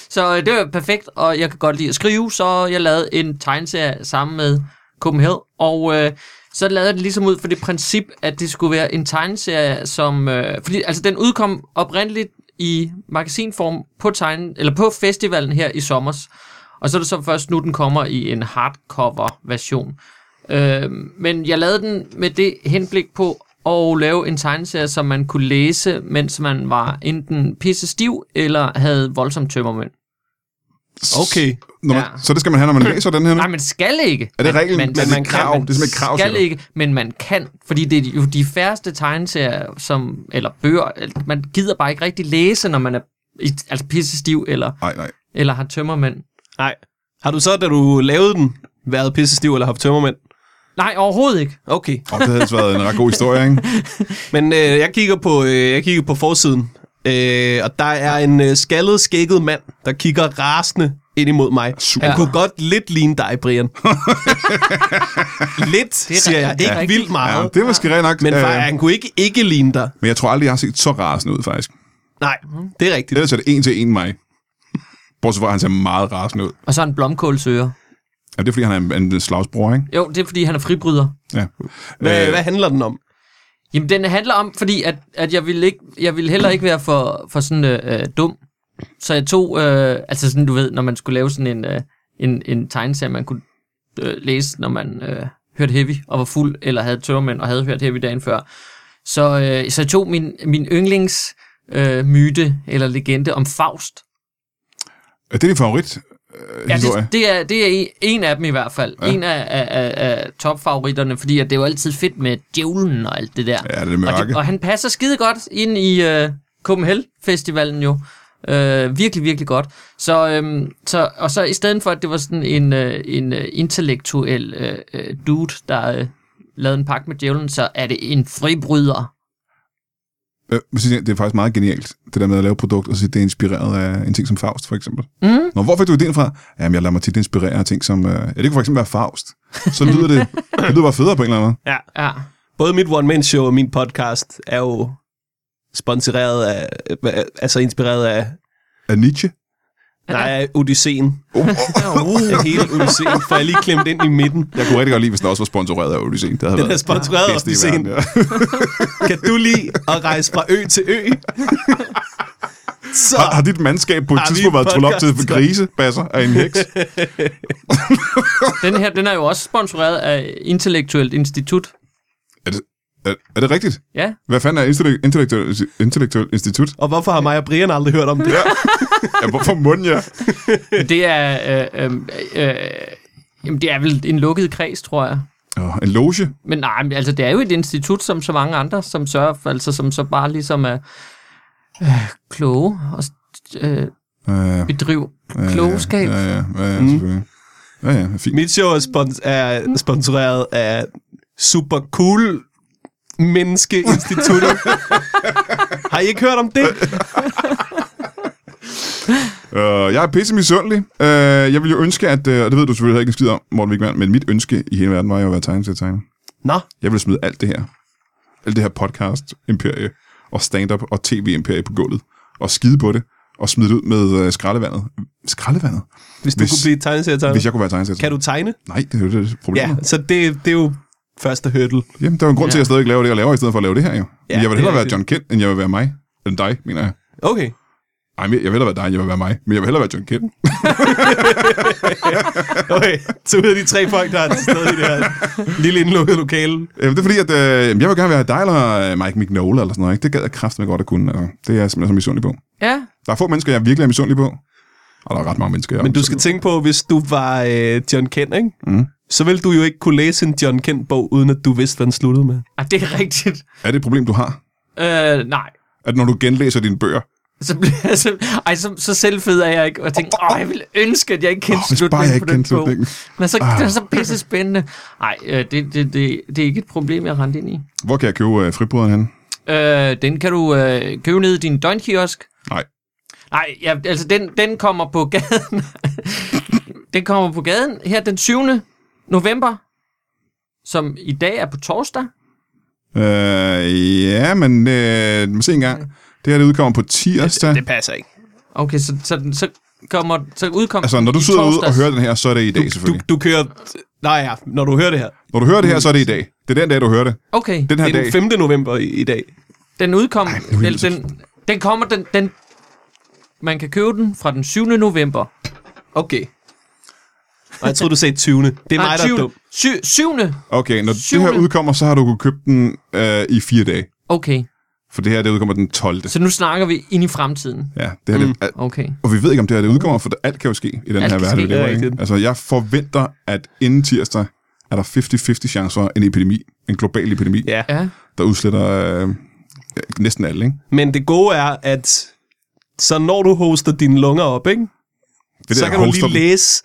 Speaker 3: Så øh, det var perfekt, og jeg kan godt lide at skrive, så jeg lavede en tegneserie sammen med Copenhagen. Og øh, så lavede jeg det ligesom ud for det princip, at det skulle være en tegneserie, som... Øh, fordi altså, den udkom oprindeligt i magasinform på, tegne, eller på festivalen her i sommer. Og så er det så først nu, den kommer i en hardcover-version. Øh, men jeg lavede den med det henblik på at lave en tegneserie, som man kunne læse, mens man var enten pisse stiv eller havde voldsom tømmermænd.
Speaker 2: Okay.
Speaker 1: Når man, ja.
Speaker 3: Ja.
Speaker 1: Så det skal man have, når man læser den her nu?
Speaker 3: Nej, man skal ikke.
Speaker 1: Mm. Er det reglen?
Speaker 3: Man,
Speaker 1: Men det er et krav. Det er simpelthen et krav, siger
Speaker 3: skal
Speaker 1: du.
Speaker 3: ikke, men man kan. Fordi det er jo de færreste tegneserier, som, eller bøger, eller- man gider bare ikke rigtig læse, når man er i- altså pisse stiv eller,
Speaker 1: Nej, nej.
Speaker 3: eller har tømmermænd.
Speaker 2: Nej. Har du så, da du lavede den, været pissestiv eller haft tømmermænd?
Speaker 3: Nej, overhovedet ikke.
Speaker 2: Okay.
Speaker 1: Og det havde altså været en ret god historie, ikke?
Speaker 2: Men øh, jeg, kigger på, øh, jeg kigger på forsiden, øh, og der er en øh, skaldet, skægget mand, der kigger rasende ind imod mig.
Speaker 1: Super.
Speaker 2: Han
Speaker 3: Ja.
Speaker 2: kunne godt lidt ligne dig, Brian. lidt, siger jeg.
Speaker 3: det er
Speaker 2: Ikke
Speaker 3: rigtigt.
Speaker 2: vildt
Speaker 1: Ja,
Speaker 2: meget.
Speaker 1: det er måske rent nok.
Speaker 2: Men far,
Speaker 1: øh,
Speaker 2: han kunne ikke ikke ligne dig.
Speaker 1: men jeg tror aldrig, jeg har set så rasende ud, faktisk.
Speaker 2: Nej, det er rigtigt.
Speaker 1: Ellers er det en til en mig. Bortset fra, at han ser meget rasende ud.
Speaker 3: Og så er han blomkålsøger.
Speaker 1: Jamen, det er, fordi han er en, en slagsbror, ikke?
Speaker 3: Jo, det er, fordi han er fribryder.
Speaker 1: Ja.
Speaker 2: Hvad, øh. hvad handler den om?
Speaker 3: Jamen, den handler om, fordi at, at jeg, ville ikke, jeg ville heller ikke være for, for sådan øh, øh, dum. Så jeg tog, øh, altså sådan, du ved, når man skulle lave sådan en, øh, en, en tegneserie, man kunne øh, læse, når man øh, hørte heavy og var fuld, eller havde tørmænd og havde hørt heavy dagen før. Så, øh, så jeg tog min, min yndlings øh, myte eller legende om Faust.
Speaker 1: Er det din favorit? Øh,
Speaker 3: Ja,
Speaker 1: historie?
Speaker 3: det, det, er, det er en- en af dem i hvert fald. Ja. En af, af, af, af topfavoritterne, fordi at det er jo altid fedt med djævlen og alt det der.
Speaker 1: Ja, det er det mørke.
Speaker 3: Og, det, og han passer skide godt ind i øh, Copenhagen Festivalen jo. Øh, virkelig, virkelig godt. Så, øhm, så, og så i stedet for, at det var sådan en, øh, en øh, intellektuel øh, øh, dude, der øh, lavede en pakke med djævlen, så er det en fribryder.
Speaker 1: Øh, men så siger jeg, det er faktisk meget genialt, det der med at lave et produkt, og så sige, det er inspireret af en ting som Faust, for eksempel. Mm. Nå, hvor fik du idéen fra? Jamen, jeg lader mig tit inspirere af ting som... Øh, ja, det kunne for eksempel være Faust. Så lyder det, det lyder bare federe på en eller anden måde.
Speaker 2: Ja.
Speaker 3: Ja.
Speaker 2: Både mit one-man-show og min podcast er jo sponsoreret af, øh, altså inspireret af,
Speaker 1: Af Nietzsche?
Speaker 2: nej, af Odysseen.
Speaker 1: Oh, oh,
Speaker 2: Af hele Odysseen, for jeg lige klemt ind i midten.
Speaker 1: jeg kunne rigtig godt lide, hvis den også var sponsoreret af Odysseen. Det havde
Speaker 2: Den er
Speaker 1: været
Speaker 2: sponsoreret af
Speaker 1: bedst i verden,
Speaker 2: Odysseen.
Speaker 1: ja.
Speaker 2: Kan du lide at rejse fra ø til ø? Så,
Speaker 1: Har, har dit mandskab på et
Speaker 2: Har vi
Speaker 1: tidspunkt været
Speaker 2: en
Speaker 1: trullet op til
Speaker 2: podcast?
Speaker 1: grisebasser af en heks?
Speaker 3: Den her, den er jo også sponsoreret af Intellektuelt Institut.
Speaker 1: Er det, er, er det rigtigt?
Speaker 3: Ja,
Speaker 1: Hvad fanden er intellektuel, intellektuel, intellektuel institut?
Speaker 2: og hvorfor har mig og Brian aldrig hørt om det?
Speaker 1: Ja, hvorfor munden jeg?
Speaker 3: det er... Øh, øh, øh, jamen, det er vel en lukket kreds, tror jeg.
Speaker 1: Oh, en loge?
Speaker 3: Men nej, men altså det er jo et institut, som så mange andre, som sørger for, altså som så bare ligesom er øh, kloge og øh,
Speaker 1: Uh,
Speaker 3: bedriver klogskab.
Speaker 1: Ja, ja, ja, ja, selvfølgelig. Ja, ja, fint.
Speaker 2: Mit show er, spons- er sponsoreret af Super Cool Menneskeinstituttet. har I ikke hørt om det?
Speaker 1: Uh, jeg er pisse misundelig. Uh, jeg ville jo ønske, at... Uh, det ved du selvfølgelig ikke en skid om, Morten Wigman, men mit ønske i hele verden var jo at være tegneserietegner.
Speaker 2: Nå,
Speaker 1: Jeg ville smide alt det her. Alt det her podcast-imperie og stand-up og tv-imperie på gulvet. Og skide på det. Og smide det ud med uh, skraldevandet. Skraldevandet?
Speaker 2: hvis du
Speaker 1: Hvis-
Speaker 2: hvis, kunne blive tegneserietegner.
Speaker 1: Hvis jeg kunne være tegneserietegner.
Speaker 2: Kan du tegne?
Speaker 1: Nej, det er jo det problem.
Speaker 2: Ja, så det, det er jo første hurdle.
Speaker 1: Jamen, der er jo en grund til, at jeg stadig laver det, jeg laver, i stedet for at lave det her jo. Ja, jeg vil
Speaker 2: det
Speaker 1: hellere
Speaker 2: er
Speaker 1: være
Speaker 2: rigtigt.
Speaker 1: John Kent, end jeg vil være mig. End dig, mener jeg.
Speaker 2: Okay.
Speaker 1: Ej, men jeg vil hellere være dig, end jeg vil være mig. Men jeg vil hellere være John Kent.
Speaker 2: Okay, så ud af de tre folk, der er til stede i det her lille indlukkede lokale.
Speaker 1: Jamen, det er fordi, at øh, jeg vil gerne være dig eller øh, Mike Mignola eller sådan noget. Ikke? Det gad jeg kraftigt godt at kunne. Altså. Det er jeg simpelthen så misundelig på.
Speaker 3: Ja,
Speaker 1: Der er få mennesker, jeg virkelig er misundelig på. Og der er ret mange mennesker, jeg er
Speaker 2: Men du skal
Speaker 1: misundelig
Speaker 2: tænke på, hvis du var øh, John Kent, ikke? Mm. så ville du jo ikke kunne læse en John Kent-bog, uden at du vidste, hvad den sluttede med.
Speaker 3: ah, det er rigtigt.
Speaker 1: på. Er det et problem, du har?
Speaker 3: Øh, nej.
Speaker 1: At når du genlæser dine bøger,
Speaker 3: Så, bliver jeg så, ej, så, så selvfed er jeg ikke, og tænker, åh, jeg ville ønske, at jeg ikke kendte
Speaker 1: Åh, hvis bare
Speaker 3: slutningen
Speaker 1: jeg
Speaker 3: på
Speaker 1: ikke
Speaker 3: den
Speaker 1: kendte
Speaker 3: bog."
Speaker 1: slutningen. Ah.
Speaker 3: Men så, det er så pisse spændende. Nej, øh, det, det, det, det er ikke et problem, jeg rendte ind i.
Speaker 1: hvor kan jeg købe øh, fribrøderen hen?
Speaker 3: Øh, den kan du øh, købe ned i din døgnkiosk.
Speaker 1: Nej.
Speaker 3: Nej, ja, altså den, den kommer på gaden. den kommer på gaden her den 7. november, som i dag er på torsdag.
Speaker 1: Øh, ja, men øh, må se en gang. Det her, det udkommer på tirsdag.
Speaker 2: Det passer ikke.
Speaker 3: Okay, så, så, den, så kommer så udkommer
Speaker 1: Altså,
Speaker 3: den
Speaker 1: når du
Speaker 3: i
Speaker 1: sidder ude og
Speaker 3: torsdags.
Speaker 1: hører den her, så er det i dag,
Speaker 2: Du,
Speaker 1: selvfølgelig.
Speaker 2: du kører... Nej, ja, når du hører det her.
Speaker 1: Når du hører det her, så er det i dag. Det er den dag, du hører det.
Speaker 3: Okay, den,
Speaker 1: Den her
Speaker 2: Det er
Speaker 1: dag.
Speaker 2: den 5. november i, i dag.
Speaker 3: den udkom...
Speaker 1: Ej, nu er
Speaker 3: den,
Speaker 1: jeg så-
Speaker 3: den, den kommer den, den... Man kan købe den fra den 7. november.
Speaker 2: Okay. Og jeg troede, du sagde 20. Det er mig, der er dum.
Speaker 3: 7. 7.
Speaker 1: Okay, når
Speaker 3: Syvende.
Speaker 1: det her udkommer, så har du kunnet købe den øh, i fire dage.
Speaker 3: Okay,
Speaker 1: For det her, det udkommer den 12.
Speaker 3: så nu snakker vi ind i fremtiden.
Speaker 1: Ja, det her, mm. det,
Speaker 3: Okay.
Speaker 1: og vi ved ikke, om det her det udkommer, for alt kan jo ske i den
Speaker 3: Alt
Speaker 1: her
Speaker 3: kan
Speaker 1: verden.
Speaker 3: ske,
Speaker 1: vi
Speaker 2: det er
Speaker 1: lever i, ikke?
Speaker 2: rigtigt.
Speaker 1: Altså, jeg forventer, at inden tirsdag er der 50-50 chancer for en epidemi, en global epidemi,
Speaker 2: Ja.
Speaker 3: Ja.
Speaker 1: der udsletter øh, ja, næsten alle, ikke?
Speaker 2: Men det gode er, at så når du hoster dine lunger op, ikke?
Speaker 1: Det
Speaker 2: så
Speaker 1: der,
Speaker 2: kan du
Speaker 1: hoster
Speaker 2: lige
Speaker 1: dem.
Speaker 2: læse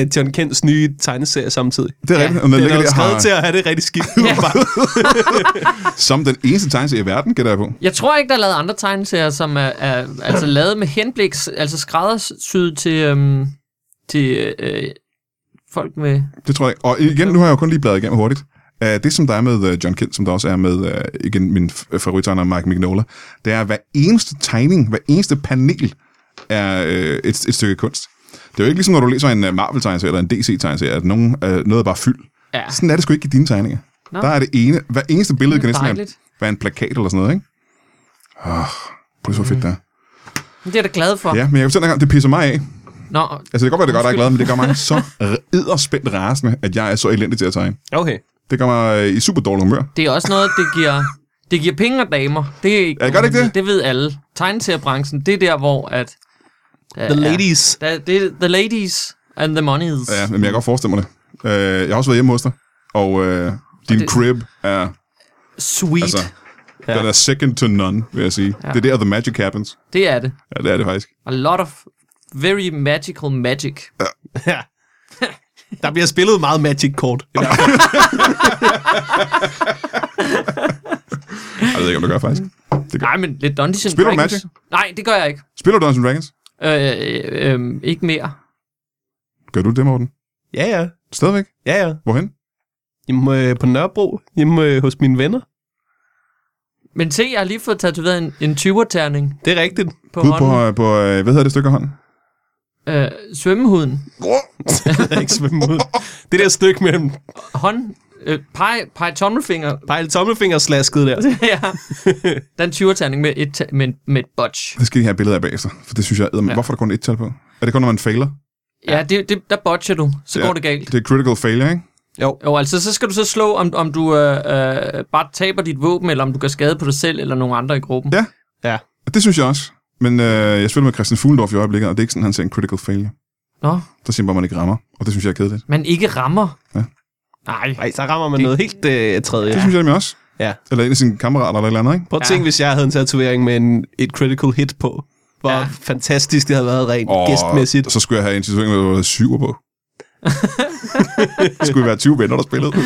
Speaker 2: øh, John Kents nye tegneserie samtidig.
Speaker 1: Det er
Speaker 3: Ja,
Speaker 1: rigtigt. og man
Speaker 2: Den er
Speaker 1: ligger
Speaker 2: jo
Speaker 1: der
Speaker 2: skrevet har... til
Speaker 1: har,
Speaker 2: at have det rigtig skidt.
Speaker 3: Ja.
Speaker 1: som den eneste tegneserie i verden, gætter jeg på.
Speaker 3: Jeg tror ikke, der er lavet andre tegneserier, som er, er altså lavet med henblik, altså skræddersyet til, øhm, til øh, folk med...
Speaker 1: Det tror jeg ikke. Og igen, nu har jeg jo kun lige bladret igennem hurtigt. Uh, det, som der er med uh, John Kent, som der også er med, uh, igen, min f- favorittegner Mike Mignola, det er, at hver eneste tegning, hver eneste panel er uh, et, et stykke kunst. Det er jo ikke ligesom, når du læser en øh, Marvel-tegneserie eller en DC-tegneserie, at nogen, uh, noget er bare fyld.
Speaker 3: Ja,
Speaker 1: Sådan er det sgu ikke i dine tegninger.
Speaker 3: Nå.
Speaker 1: Der er det ene, hver eneste billede
Speaker 3: Det
Speaker 1: kan
Speaker 3: er
Speaker 1: næsten være,
Speaker 3: dejligt.
Speaker 1: være en plakat eller sådan noget, ikke? Åh, oh, det er
Speaker 3: Mm.
Speaker 1: så fedt, der.
Speaker 3: det er jeg da glad for.
Speaker 1: Ja, men jeg kan fortælle dig, en gang, det pisser mig af.
Speaker 3: Nå,
Speaker 1: Altså, det kan godt være, det gør dig glad, men det gør mig så edderspændt rasende, at jeg er så elendig til at tegne.
Speaker 2: Okay.
Speaker 1: Det gør mig øh, i super dårlig humør.
Speaker 3: det er også noget, det giver, det giver penge og damer. Det er ikke,
Speaker 1: Ja, gør det ikke det?
Speaker 3: Det ved alle. Tegneseriebranchen, det er der, hvor at...
Speaker 2: The Ladies.
Speaker 3: Der, det er the ladies and the monies.
Speaker 1: Ja, men jeg kan godt forestille mig det. Øh, jeg har også været hjemme hos dig, og øh, din
Speaker 3: det-
Speaker 1: det... crib er,
Speaker 3: Sweet.
Speaker 1: altså,
Speaker 3: Altså.
Speaker 1: ja. den er second to none, vil jeg sige. Ja. Det er der, the magic happens.
Speaker 3: Det er det.
Speaker 1: Ja, det er det faktisk.
Speaker 3: A lot of very magical magic.
Speaker 2: Ja. Der bliver spillet meget Magic-kort.
Speaker 1: Ej, Jeg ved ikke, om det gør faktisk. Det gør.
Speaker 3: Nej, men lidt Dungeons and
Speaker 1: Spiller du
Speaker 3: Dragons.
Speaker 1: Magic?
Speaker 3: Nej, det gør jeg ikke.
Speaker 1: Spiller du Dungeons Dragons?
Speaker 3: Øh, øh, øh, ikke mere.
Speaker 1: Gør du det, Morten?
Speaker 2: Ja, ja.
Speaker 1: Stadigvæk?
Speaker 2: Ja, ja.
Speaker 1: Hvorhen?
Speaker 2: Hjemme øh, på Nørrebro. Hjemme øh, hos mine venner.
Speaker 3: Men se, jeg har lige fået tatoveret en, en 20'er-terning
Speaker 2: Det er rigtigt.
Speaker 3: på
Speaker 1: Ude på,
Speaker 3: hånden.
Speaker 1: øh, på øh, hvad hedder det stykke af hånden?
Speaker 3: Øh, svømmehuden.
Speaker 2: Jeg kan ikke svømme ud. Det der stykke mellem
Speaker 3: Hånd. Øh, pege, pege tommelfinger.
Speaker 2: pejle tommelfingerslasket der.
Speaker 3: ja. Den 20'er-terning med et, ta- med, en- med et botch.
Speaker 1: Det skal de have billeder af bagefter, for det synes jeg æder. Ja. Hvorfor er der kun et tal på? Er det kun, når man failer?
Speaker 3: Ja, det, det, der botcher du. Så går det galt.
Speaker 1: Det er critical failure, ikke?
Speaker 3: Jo, altså, så skal du så slå, om, om du øh, øh, bare taber dit våben, eller om du gør skade på dig selv eller nogen andre i gruppen.
Speaker 1: Ja.
Speaker 2: Ja.
Speaker 1: Og Det synes jeg også. Men øh, jeg spiller med Christian Fuglendorf i øjeblikket, og det er ikke sådan, han ser en critical failure.
Speaker 3: Nå,
Speaker 1: Der siger man bare, at man ikke rammer, og det synes jeg er kedeligt.
Speaker 3: man ikke rammer.
Speaker 1: Ja.
Speaker 3: Nej.
Speaker 2: Nej, så rammer man noget helt øh, tredje.
Speaker 1: Det synes jeg nemlig også.
Speaker 2: Ja.
Speaker 1: Eller en af sine kammerater eller et eller andet, ikke?
Speaker 2: Prøv at
Speaker 3: Ja.
Speaker 2: tænke, hvis jeg havde en tatovering med en, et critical hit på. Hvor
Speaker 3: Ja.
Speaker 2: ja. fantastisk det havde været rent oh. gæstmæssigt.
Speaker 1: så skulle jeg have en situation, hvor jeg var syver på. skulle vi være 20 venner, der spillede.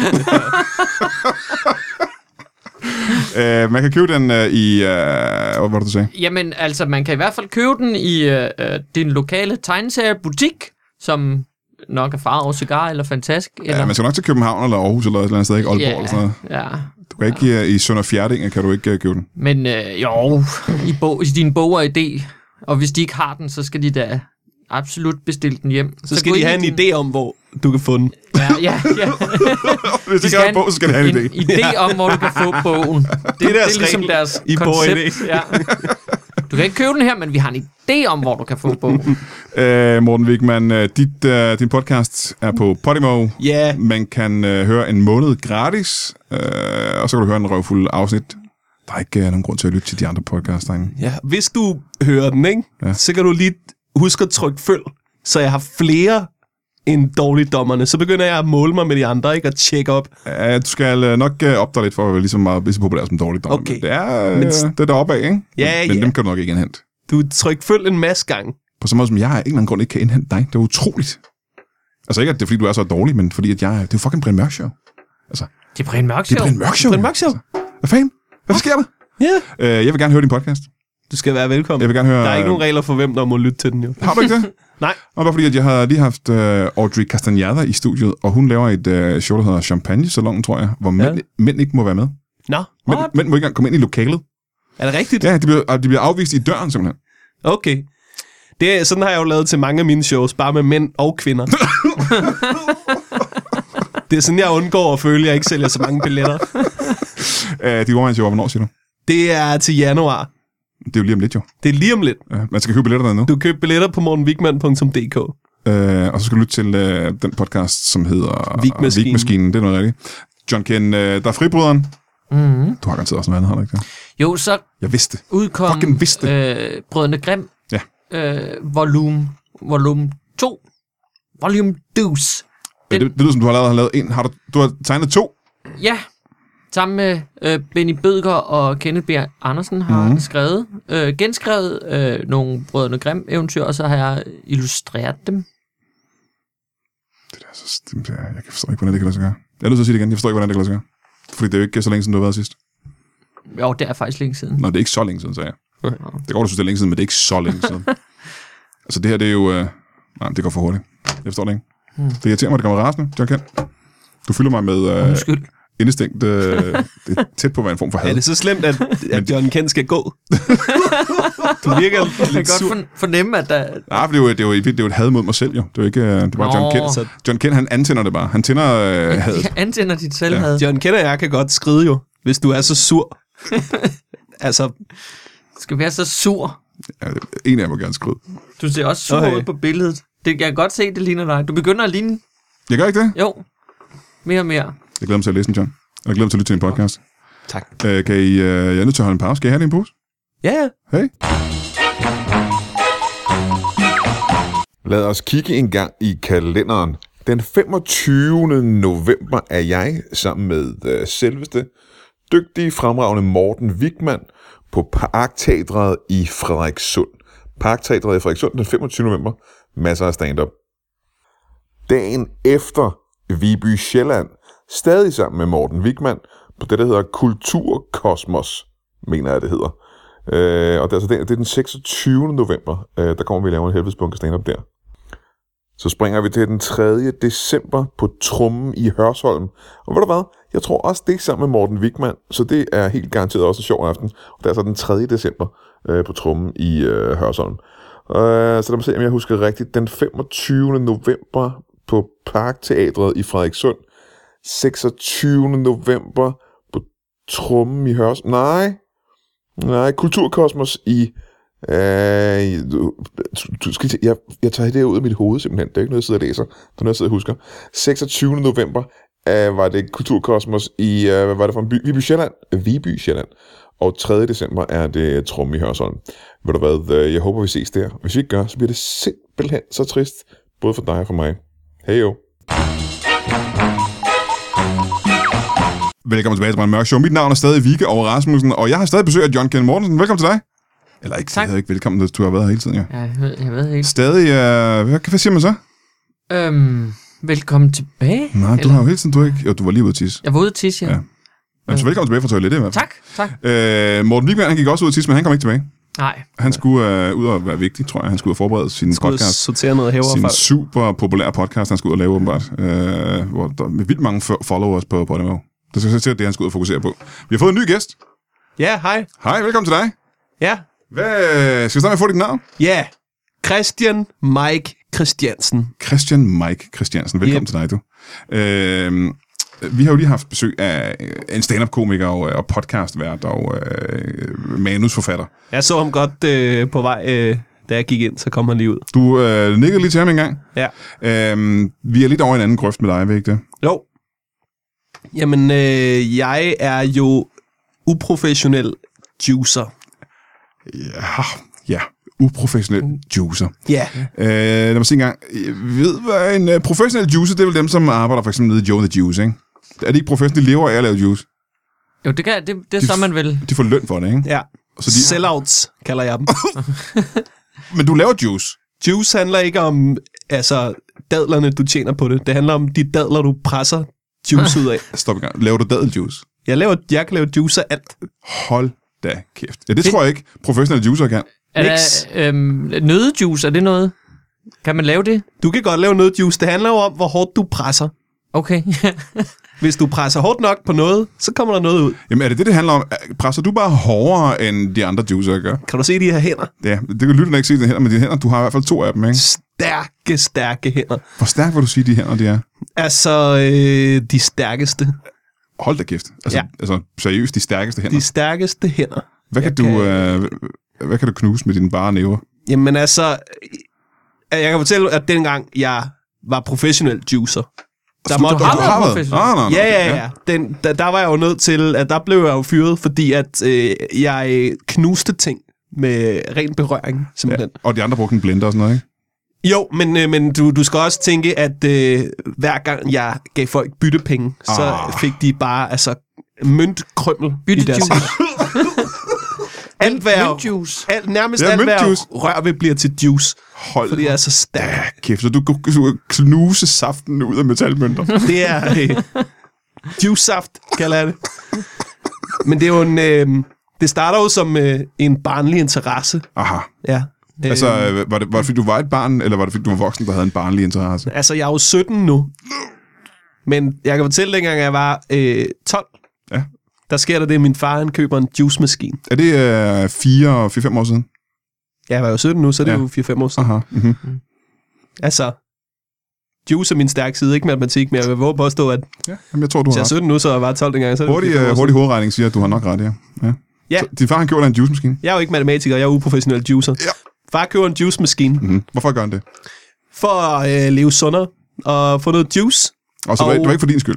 Speaker 1: uh, man kan købe den uh, i... Uh, hvad var det, du sagde?
Speaker 3: Jamen, altså, man kan i hvert fald købe den i øh, øh, din lokale tegneseriebutik, som nok er Farov Cigar eller Fantask. Eller,
Speaker 1: Ja, man skal nok til København eller Aarhus eller et eller andet sted, ikke? Aalborg yeah. eller sådan noget.
Speaker 3: ja, ja.
Speaker 1: Du kan ikke uh, i Sønder Fjerdinge, kan du ikke uh, købe den.
Speaker 3: Men øh, jo, i, bog, i din bog og idé, og hvis de ikke har den, så skal de da absolut bestille den hjem.
Speaker 2: Så skal de have en idé om, hvor du kan få den.
Speaker 3: Ja, ja, ja.
Speaker 1: Hvis de
Speaker 3: De
Speaker 1: ikke har en bog, så skal det have en, idé.
Speaker 3: idé om, hvor du kan få bogen. Det, det er
Speaker 2: deres
Speaker 3: ligesom
Speaker 2: regel
Speaker 3: deres
Speaker 2: i bog og idé.
Speaker 3: koncept. Ja. Du kan ikke købe den her, men vi har en idé om, hvor du kan få bogen.
Speaker 1: Uh, Morten Wigman, uh, dit, uh, din podcast er på Podimo.
Speaker 2: Ja,
Speaker 1: Man kan øh, høre en måned gratis, øh, og så kan du høre en røvfuld afsnit. Der er ikke øh, nogen grund til at lytte til de andre podcasts, drenge.
Speaker 2: ja. Hvis du hører den, ikke?
Speaker 1: Ja.
Speaker 2: Ja. så kan du lige huske at trykke følg, så jeg har flere end dårligdommerne. Så begynder jeg at måle mig med de andre, ikke? Og tjekke op.
Speaker 1: Ja, du skal øh, nok øh, opdage lidt for at være lige så, meget, lige så populær som dårligt dommer.
Speaker 2: Okay.
Speaker 1: Men det er, øh,
Speaker 2: Men s-
Speaker 1: det er deroppe af, ikke?
Speaker 2: Ja,
Speaker 1: men, men
Speaker 2: ja.
Speaker 1: dem kan du nok ikke indhente.
Speaker 2: Du tryk følg en masse gange.
Speaker 1: På samme måde som jeg af en eller anden grund ikke kan indhente dig. Det er utroligt. Altså ikke, at det er fordi, du er så dårlig, men fordi, at jeg... Det er jo fucking Brian Mørk Show.
Speaker 3: Det er Brian Mørk
Speaker 1: Det er
Speaker 3: Show.
Speaker 1: Brian Mørk Show.
Speaker 2: Brian Mørk Show.
Speaker 1: Altså, Hvad fanden? Hvad sker der?
Speaker 2: Ja,
Speaker 1: Øh, jeg vil gerne høre din podcast.
Speaker 2: du skal være velkommen.
Speaker 1: Jeg vil gerne høre...
Speaker 2: Der er ikke nogen regler for, hvem der må lytte til den, jo.
Speaker 1: Har du ikke det?
Speaker 2: Nej.
Speaker 1: Og bare fordi, at jeg har lige haft øh, Audrey Castaneda i studiet, og hun laver et øh, show, der hedder Champagne Salon, tror jeg, hvor mænd, ja. mænd ikke må være med.
Speaker 2: Nå,
Speaker 1: Mænd, mænd må ikke engang komme ind i lokalet.
Speaker 2: er det rigtigt?
Speaker 1: Ja, de bliver, og de bliver afvist i døren, simpelthen.
Speaker 2: Okay. Det, er- sådan har jeg jo lavet til mange af mine shows, bare med mænd og kvinder. det er sådan, jeg undgår at føle, at jeg ikke sælger så mange billetter.
Speaker 1: Øh, de one show, hvornår siger du?
Speaker 2: Det er til januar.
Speaker 1: Det er jo lige om lidt, jo.
Speaker 2: Det er lige om lidt.
Speaker 1: Ja, man skal købe billetter dernede.
Speaker 2: Du køber billetter på morgenvigman.dk.
Speaker 1: Øh, og så skal du lytte til øh, den podcast, som hedder...
Speaker 2: Vigmaskinen.
Speaker 1: Vigmaskinen, det er noget rigtigt. John Ken, øh, der er fribryderen.
Speaker 2: Mhm.
Speaker 3: Mm-hmm.
Speaker 1: Du har garanteret også noget andet, har du ikke det?
Speaker 3: Jo, så
Speaker 1: Jeg vidste det.
Speaker 3: udkom
Speaker 1: Fucking vidste
Speaker 3: øh, Brødrene Grimm,
Speaker 1: Ja.
Speaker 3: øh, volume, volume 2, volume 2.
Speaker 1: Øh, Det, det lyder som, du har lavet, har lavet en. Har du, du har tegnet to.
Speaker 3: Ja, sammen med øh, Benny Bødker og Kenneth B. Andersen har mm-hmm. skrevet, øh, genskrevet øh, nogle Brødrene Grimm eventyr, og så har jeg illustreret dem.
Speaker 1: Altså, det- ja, jeg forstår ikke, hvordan det kan lade sig gøre. Jeg er nødt til at sige det igen. Jeg forstår ikke, hvordan det kan lade sig gøre. Fordi det er jo ikke så længe siden, du har været sidst.
Speaker 3: Jo, det er faktisk længe siden.
Speaker 1: Nå, det er ikke så længe siden, sagde jeg.
Speaker 2: Okay.
Speaker 1: Det går, du synes, det er længe siden, men det er ikke så længe siden. altså, det her, det er jo... Øh... Nej, det går for hurtigt. Jeg forstår det ikke. Hmm. Det irriterer mig, det gør mig rasende, John Kent. Du fylder mig med øh,
Speaker 3: Undskyld.
Speaker 1: indestængt... Øh, det er tæt på at være en form for had.
Speaker 2: Er det så slemt, at, at John Kent skal gå? du virker
Speaker 3: Jeg
Speaker 2: lidt
Speaker 3: kan godt
Speaker 2: sur.
Speaker 3: forn- fornemme, at der...
Speaker 1: Nej, Ah, for det er jo, det er jo, det er jo et had mod mig selv, jo. Det er jo ikke... øh, Det er bare
Speaker 3: Nå.
Speaker 1: John Kent. John Kent, han antænder det bare. Han tænder øh, hadet.
Speaker 3: Jeg antænder dit selvhad. Ja.
Speaker 2: John Kent og jeg kan godt skride jo, hvis du er så sur. altså,
Speaker 3: Skal være så sur.
Speaker 1: Ja, en af jer må gerne skride.
Speaker 3: Du ser også sur
Speaker 2: Okay.
Speaker 3: okay. ud på billedet. Det kan jeg godt se, det ligner dig. Du begynder at ligne...
Speaker 1: Jeg gør ikke det.
Speaker 3: Jo. Mere og mere.
Speaker 1: Jeg glæder mig til at læse den, John. Og jeg glæder mig til at lytte til din podcast.
Speaker 2: tak.
Speaker 1: Øh, kan I, øh, jeg er nødt til at holde en pause. Skal I have det i en pose?
Speaker 2: Ja, ja.
Speaker 1: Hey.
Speaker 4: Lad os kigge en gang i kalenderen. Den 25. november er jeg sammen med øh, selveste dygtige fremragende Morten Wigman på Parkteatret i Frederikssund. Parkteatret i Frederikssund den 25. november. Masser af stand-up. Dagen efter Viby Sjælland, stadig sammen med Morten Wigman, på det, der hedder Kulturkosmos, mener jeg, det hedder. Øh, og det er, altså den, det er den 26. november, øh, der kommer vi og laver en helvedes bunke stand-up der. Så springer vi til den 3. december på Trummen i Hørsholm. Og ved du hvad? Jeg tror også, det er sammen med Morten Wigman, så det er helt garanteret også en sjov aften. Og det er så den 3. december øh, på Trummen i øh, Hørsholm. Øh, så lad mig se, om jeg husker rigtigt. Den 25. november på Parkteatret i Frederikssund. 26. november på Trummen i Hørsholm. Nej, Nej, Kulturkosmos i... Øh, du, du skal, jeg, jeg tager det her ud af mit hoved simpelthen. Det er ikke noget, jeg sidder og læser. Det er noget, jeg sidder og husker. 26. november øh, var det Kulturkosmos i... Øh, hvad var det for en by? Viby Sjælland. Viby Sjælland. Og 3. december er det Trum i Hørsholm. Ved du hvad, øh, jeg håber, vi ses der. Hvis vi ikke gør, så bliver det simpelthen så trist. Både for dig og for mig. Hej jo.
Speaker 1: Velkommen tilbage til Brand Mørk Show. Mit navn er stadig Vike over Rasmussen, og jeg har stadig besøg af John Ken Mortensen. Velkommen til dig. Eller ikke,
Speaker 3: Tak.
Speaker 1: tak. ikke velkommen, hvis du har været her hele tiden, ja.
Speaker 3: Ja, jeg ved, jeg ved ikke.
Speaker 1: Stadig, øh, hvad, hvad siger man så?
Speaker 3: Øhm, velkommen tilbage.
Speaker 1: Nej, du har jo hele tiden, du har ikke... Jo, du var lige ude at tisse.
Speaker 3: Jeg var ude at tisse, ja.
Speaker 1: Ja. Jamen, så velkommen tilbage fra toilettet i hvert fald.
Speaker 3: Tak, tak.
Speaker 1: Øh, Morten Wigman, han gik også ud at tisse, men han kom ikke tilbage.
Speaker 3: Nej,
Speaker 1: Han skulle øh, ud og være vigtig, tror jeg. Han skulle ud og forberede sin
Speaker 2: Skulle
Speaker 1: podcast.
Speaker 2: sortere noget hæver
Speaker 1: sin
Speaker 2: fra.
Speaker 1: super populære podcast, han skal ud og lave åbenbart. Øh, hvor der er vildt mange fo- followers på Podimo. Det skal sikkert det, han skal ud og fokusere på. Vi har fået en ny gæst.
Speaker 2: Ja, hej.
Speaker 1: Hej, velkommen til dig.
Speaker 2: Ja.
Speaker 1: Hvad, skal vi starte med at få dit navn?
Speaker 2: Ja. Christian Mike Christiansen.
Speaker 1: Christian Mike Christiansen. Velkommen yep.
Speaker 2: Yep.
Speaker 1: til dig, du. Øh, vi har jo lige haft besøg af øh, en stand-up-komiker og, og podcastvært og øh, manusforfatter.
Speaker 2: Jeg så ham godt øh, på vej, øh, da jeg gik ind, så kom han lige ud.
Speaker 1: Du øh, nikkede lige til ham en gang.
Speaker 2: Ja.
Speaker 1: Øh, vi er lidt over i en anden grøft med dig, ved ikke det?
Speaker 2: Jo. Jamen, øh, jeg er jo uprofessionel juicer.
Speaker 1: Ja, Mm. ja. Uprofessionel juicer.
Speaker 2: Ja.
Speaker 1: Øh, lad mig se en gang. Jeg ved, hvad en uh, professionel juicer, det er vel dem, som arbejder for eksempel nede i Joe and the Juice, ikke? Er det ikke professionelle, de lever af at lave juice?
Speaker 3: jo, det, kan, det, det er så, man vel.
Speaker 1: De får løn for det, ikke?
Speaker 2: Ja.
Speaker 1: Så
Speaker 2: Så
Speaker 1: de-
Speaker 2: de... Sellouts kalder jeg dem.
Speaker 1: Men du laver juice.
Speaker 2: Juice handler ikke om altså, dadlerne, du tjener på det. Det handler om de dadler, du presser juice ud af.
Speaker 1: Stop en gang. Laver du dadeljuice?
Speaker 2: Jeg, laver, jeg kan lave juice af alt.
Speaker 1: Hold da kæft. Ja, det, tror jeg ikke, professionelle juicer kan.
Speaker 3: Er der,
Speaker 2: Niks.
Speaker 3: øhm, nødejuice, er det noget? Kan man lave det?
Speaker 2: Du kan godt lave noget juice. Det handler jo om, hvor hårdt du presser.
Speaker 3: Okay.
Speaker 2: Hvis du presser hårdt nok på noget, så kommer der noget ud.
Speaker 1: Jamen, er det det, det handler om? Er- Presser du bare hårdere, end de andre juicer gør?
Speaker 2: Kan du se de her hænder?
Speaker 1: Ja, det kan lytterne ikke se, dine hænder, men dine hænder, du har i hvert fald to af dem, ikke?
Speaker 2: Stærke, stærke hænder.
Speaker 1: Hvor stærkt vil du sige, de hænder, de er?
Speaker 2: Altså, øh, de stærkeste.
Speaker 1: Hold da kæft. Altså, ja.
Speaker 2: Ja.
Speaker 1: altså seriøst, de stærkeste hænder.
Speaker 2: De stærkeste hænder.
Speaker 1: Hvad kan,
Speaker 2: Jeg
Speaker 1: du,
Speaker 2: kan-
Speaker 1: øh, hvad kan du knuse med dine bare næver?
Speaker 2: Jamen altså, øh, jeg kan fortælle, at dengang jeg var professionel juicer, der måtte
Speaker 1: du
Speaker 3: har
Speaker 2: du-
Speaker 3: været professionel.
Speaker 1: Ah, nej, nej,
Speaker 2: Ja,
Speaker 1: okay,
Speaker 2: ja, ja. Den, der, der var jeg jo nødt til, at der blev jeg jo fyret, fordi at øh, jeg knuste ting med ren berøring, simpelthen.
Speaker 1: Og de andre brugte en blender og sådan noget, ikke?
Speaker 2: Ja. Jo, men, øh, men du, du skal også tænke, at øh, hver gang jeg gav folk byttepenge, så
Speaker 1: Ah.
Speaker 2: fik de bare altså møntkrømmel i deres
Speaker 3: Byttejuice.
Speaker 2: Alt, hvad,
Speaker 3: Mintjuice.
Speaker 2: alt, nærmest
Speaker 1: Ja,
Speaker 2: alt, hvad
Speaker 1: mintjuice.
Speaker 2: jeg rører ved, bliver til juice.
Speaker 1: Hold
Speaker 2: Fordi jeg er så stærk.
Speaker 1: kæft, så du kunne du kunne knuse saften ud af metalmønter.
Speaker 2: Det er øh, juice-saft, kalder jeg det. Men det er jo en... Øh, det starter jo som øh, en barnlig interesse.
Speaker 1: Aha.
Speaker 2: Ja. Øh,
Speaker 1: Altså, øh, var det, var det fordi, du var et barn, eller var det fordi, du var voksen, der havde en barnlig interesse?
Speaker 2: altså, jeg er jo 17 nu. Men jeg kan fortælle, dengang jeg var øh, 12,
Speaker 1: Ja.
Speaker 2: der sker der det, at min far han køber en juice-maskine.
Speaker 1: Er det øh, fire, fire, fem år siden?
Speaker 2: Jeg var jo 17 nu, så det er
Speaker 1: Ja.
Speaker 2: jo 4-5 år siden.
Speaker 1: Aha. Mm-hmm.
Speaker 2: Altså, juice er min stærke side, ikke matematik, men jeg vil våge påstå, at
Speaker 1: Ja. Jamen, jeg tror, du
Speaker 2: hvis
Speaker 1: har
Speaker 2: jeg er
Speaker 1: ret.
Speaker 2: 17 nu, så var jeg bare 12 dengang. Så er det
Speaker 1: Hurtig,
Speaker 2: fire, fem
Speaker 1: øh,
Speaker 2: år
Speaker 1: hurtig
Speaker 2: siden.
Speaker 1: hovedregning siger, at du har nok ret, ja. ja.
Speaker 2: Ja.
Speaker 1: Så, din far, han gjorde en juice-maskine.
Speaker 2: Jeg er jo ikke matematiker, jeg er uprofessionel juicer.
Speaker 1: Ja.
Speaker 2: Far køber en juice-maskine
Speaker 1: Mm-hmm. Hvorfor gør han det?
Speaker 2: for at øh, leve sundere og få noget juice.
Speaker 1: Og så og...
Speaker 2: Og-
Speaker 1: det var ikke for din skyld.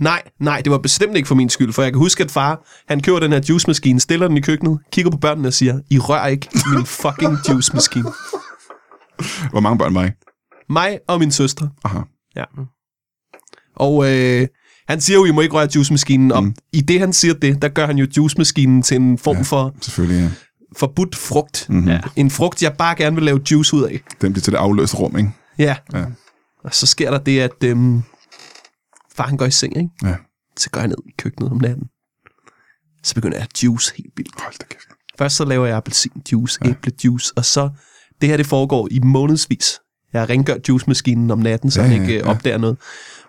Speaker 2: Nej, nej, det var bestemt ikke for min skyld, for jeg kan huske, at far, han køber den her juicemaskine, stiller den i køkkenet, kigger på børnene og siger, I rører ikke min fucking juicemaskine.
Speaker 1: Hvor mange børn var I?
Speaker 2: Mig og min søstre.
Speaker 1: Aha.
Speaker 2: Ja. Og øh, han siger jo, I må ikke røre juicemaskinen, og i det han siger det, der gør han jo juicemaskinen til en form ja. for
Speaker 1: Selvfølgelig, ja. Mhm.
Speaker 2: forbudt frugt.
Speaker 1: Mm.
Speaker 2: Mm-hmm. Ja. En frugt, jeg bare gerne vil lave juice ud af.
Speaker 1: Den blev til det afløste rum, ikke?
Speaker 2: Ja.
Speaker 1: Ja.
Speaker 2: Og så sker der det, at øhm, far han går i seng, ikke?
Speaker 1: Ja.
Speaker 2: Så går jeg ned i køkkenet om natten. Så begynder jeg at juice helt vildt.
Speaker 1: Hold da kæft.
Speaker 2: Først så laver jeg appelsinjuice, ja. æblejuice, og så... Det her, det foregår i månedsvis. Jeg rengør juicemaskinen om natten, så
Speaker 1: Ja,
Speaker 2: ja,
Speaker 1: ja,
Speaker 2: den ikke
Speaker 1: ja.
Speaker 2: ja. opdager noget.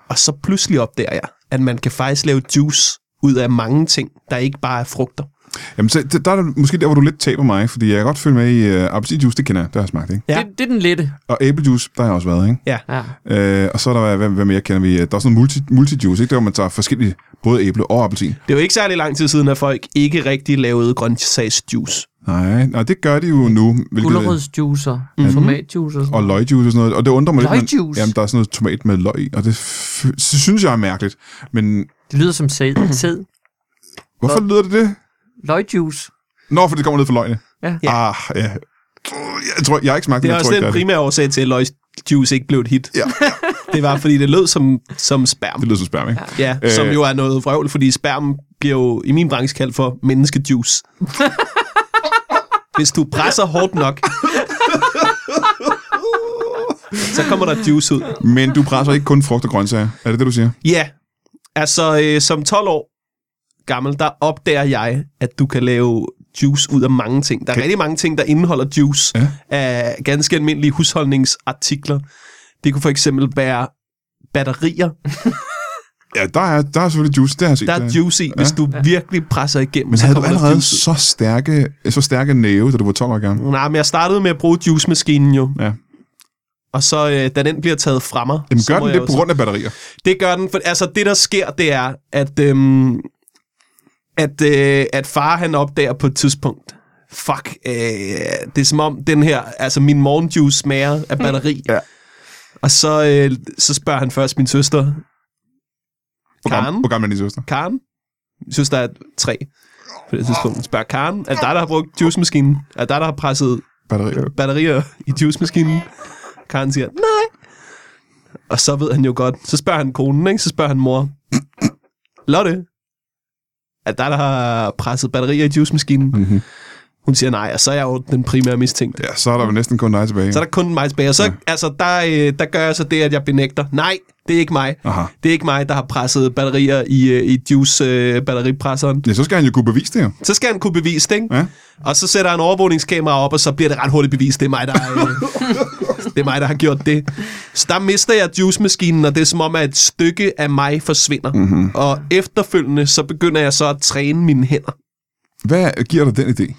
Speaker 2: Og så pludselig opdager jeg, at man kan faktisk lave juice ud af mange ting, der ikke bare er frugter.
Speaker 1: Jamen, så, der, der er det måske der, hvor du lidt taber mig, fordi jeg kan godt følge med i uh, appelsinjuice, det kender jeg, det har jeg smagt, ikke?
Speaker 2: Ja.
Speaker 3: Det, det er den lette.
Speaker 1: Og æblejuice, der har jeg også været, ikke?
Speaker 2: Ja,
Speaker 3: Ja.
Speaker 1: Øh, og så er der, hvad, hvad mere kender vi? Der er sådan noget multi, multijuice, ikke? Der, hvor man tager forskellige, både æble og appelsin.
Speaker 2: det er jo ikke særlig lang tid siden, at folk ikke rigtig lavede grøntsagsjuice.
Speaker 1: Nej, nej, det gør de jo nu. Hvilket,
Speaker 3: Gulerodsjuicer, mm-hmm. tomatjuicer.
Speaker 1: Mhm. og løgjuice og sådan noget. Og det undrer mig lidt. men-
Speaker 3: Løgjuice?
Speaker 1: Jamen, der er sådan noget tomat med løg i, og det f- synes jeg er mærkeligt. Men
Speaker 3: Det lyder som sæd. sæd.
Speaker 1: hvorfor lyder det det?
Speaker 3: Løgjuice.
Speaker 1: Nå, for det kommer ned fra løgene.
Speaker 3: Ja.
Speaker 2: Ja.
Speaker 1: Ah, ja. Jeg tror, jeg har ikke smagt
Speaker 2: Det
Speaker 1: den,
Speaker 2: er
Speaker 1: jeg
Speaker 2: også
Speaker 1: tror ikke,
Speaker 2: den
Speaker 1: det er
Speaker 2: primære årsag til, at løgsjuice ikke blev et hit.
Speaker 1: Ja.
Speaker 2: Det var, fordi det lød som, som sperm.
Speaker 1: det. Det lyder som sperm, ikke?
Speaker 2: Ja,
Speaker 1: Øh.
Speaker 2: øh. som jo er noget vrøvl, fordi sperm bliver jo i min branche kaldt for menneskejuice. Hvis du presser hårdt nok, så kommer der juice ud.
Speaker 1: Men du presser ikke kun frugt og grøntsager. Er det det, du siger?
Speaker 2: Ja, altså øh, som 12 år gammel, der opdager jeg, at du kan lave juice ud af mange ting. Der er rigtig mange ting, der indeholder juice
Speaker 1: Ja.
Speaker 2: ja. af ganske almindelige husholdningsartikler. Det kunne for eksempel være batterier,
Speaker 1: Ja, der er, der er selvfølgelig juice, det har jeg set.
Speaker 2: der er juice i, hvis
Speaker 1: Ja.
Speaker 2: du virkelig presser igennem.
Speaker 1: Men
Speaker 2: så
Speaker 1: havde du
Speaker 2: kommer der
Speaker 1: allerede
Speaker 2: juice ud.
Speaker 1: så stærke, så stærke næve, da du var 12 år gammel?
Speaker 2: Nej, men jeg startede med at bruge juicemaskinen jo.
Speaker 1: Ja.
Speaker 2: Og så, øh, da den bliver taget fra mig...
Speaker 1: Jamen,
Speaker 2: så
Speaker 1: gør
Speaker 2: må
Speaker 1: den
Speaker 2: jeg
Speaker 1: det
Speaker 2: jo
Speaker 1: på grund af batterier?
Speaker 2: Så, det gør den, for altså det, der sker, det er, at, øhm, at, øh, at far han opdager på et tidspunkt, fuck, øh, det er som om den her, altså min morgenjuice smager af batteri.
Speaker 1: Ja.
Speaker 2: Og så, øh, så spørger han først min søster,
Speaker 1: Hvor gammel,
Speaker 2: Karen?
Speaker 1: hvor gammel er din søster?
Speaker 2: Karen, jeg synes, der er tre på det tidspunkt, spørger Karen, er det dig, der har brugt juicemaskinen? Er det dig, der har presset
Speaker 1: Batterier.
Speaker 2: batterier i juicemaskinen. Karen siger, nej. Og så ved han jo godt. Så spørger han konen, ikke? Så spørger han mor. Lotte, er det dig, der har presset batterier i juicemaskinen? Mm-hmm. Hun siger nej, og så er jeg jo den primære mistænkte.
Speaker 1: Ja, så er der jo næsten kun dig tilbage.
Speaker 2: Så er der kun mig tilbage. Og så, altså, der, øh, der gør jeg så det, at jeg benægter. Nej, det er ikke mig.
Speaker 1: Aha.
Speaker 2: Det er ikke mig, der har presset batterier i, øh, i juice-batteripresseren.
Speaker 1: Ja, så skal han jo kunne bevise det jo.
Speaker 2: Så skal han kunne bevise det, ikke?
Speaker 1: Ja.
Speaker 2: Og så sætter han overvågningskamera op, og så bliver det ret hurtigt bevist. Det er mig, der, øh, det er mig, der har gjort det. Så der mister jeg juicemaskinen, og det er som om, at et stykke af mig forsvinder. Mm-hmm. Og efterfølgende, så begynder jeg så at træne mine hænder.
Speaker 1: Hvad giver dig den idé?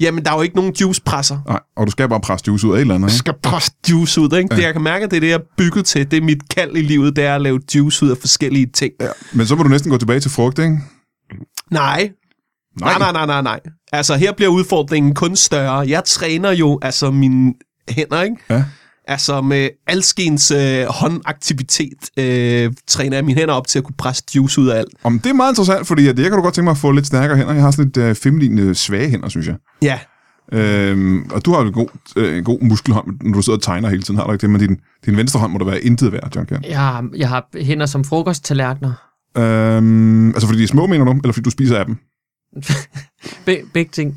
Speaker 2: Jamen, der er jo ikke nogen juicepresser.
Speaker 1: Nej, og du skal bare presse juice ud af et eller andet, ikke?
Speaker 2: skal presse juice ud, ikke? Ja. Det, jeg kan mærke, at det er det, jeg er bygget til. Det er mit kald i livet, det er at lave juice ud af forskellige ting. Ja.
Speaker 1: Men så må du næsten gå tilbage til frugt, ikke?
Speaker 2: Nej, Nej, nej, nej, nej, nej. Altså, her bliver udfordringen kun større. Jeg træner jo altså mine hænder, ikke?
Speaker 1: Ja.
Speaker 2: Altså, med alskens øh, håndaktivitet øh, træner jeg mine hænder op til at kunne presse juice ud af alt.
Speaker 1: Om det er meget interessant, fordi at jeg kan du godt tænke mig at få lidt stærkere hænder. Jeg har sådan lidt øh, feminine svage hænder, synes jeg.
Speaker 2: Ja,
Speaker 1: Øhm, og du har jo en god, øh, en god muskelhånd, når du sidder og tegner hele tiden, har du ikke det? Men din, din venstre hånd må da være intet værd, John Kjær.
Speaker 3: Jeg har, jeg har hænder som frokosttallerkener.
Speaker 1: Øhm, altså fordi de er små, mener du? Eller fordi du spiser af dem?
Speaker 3: Be- begge ting.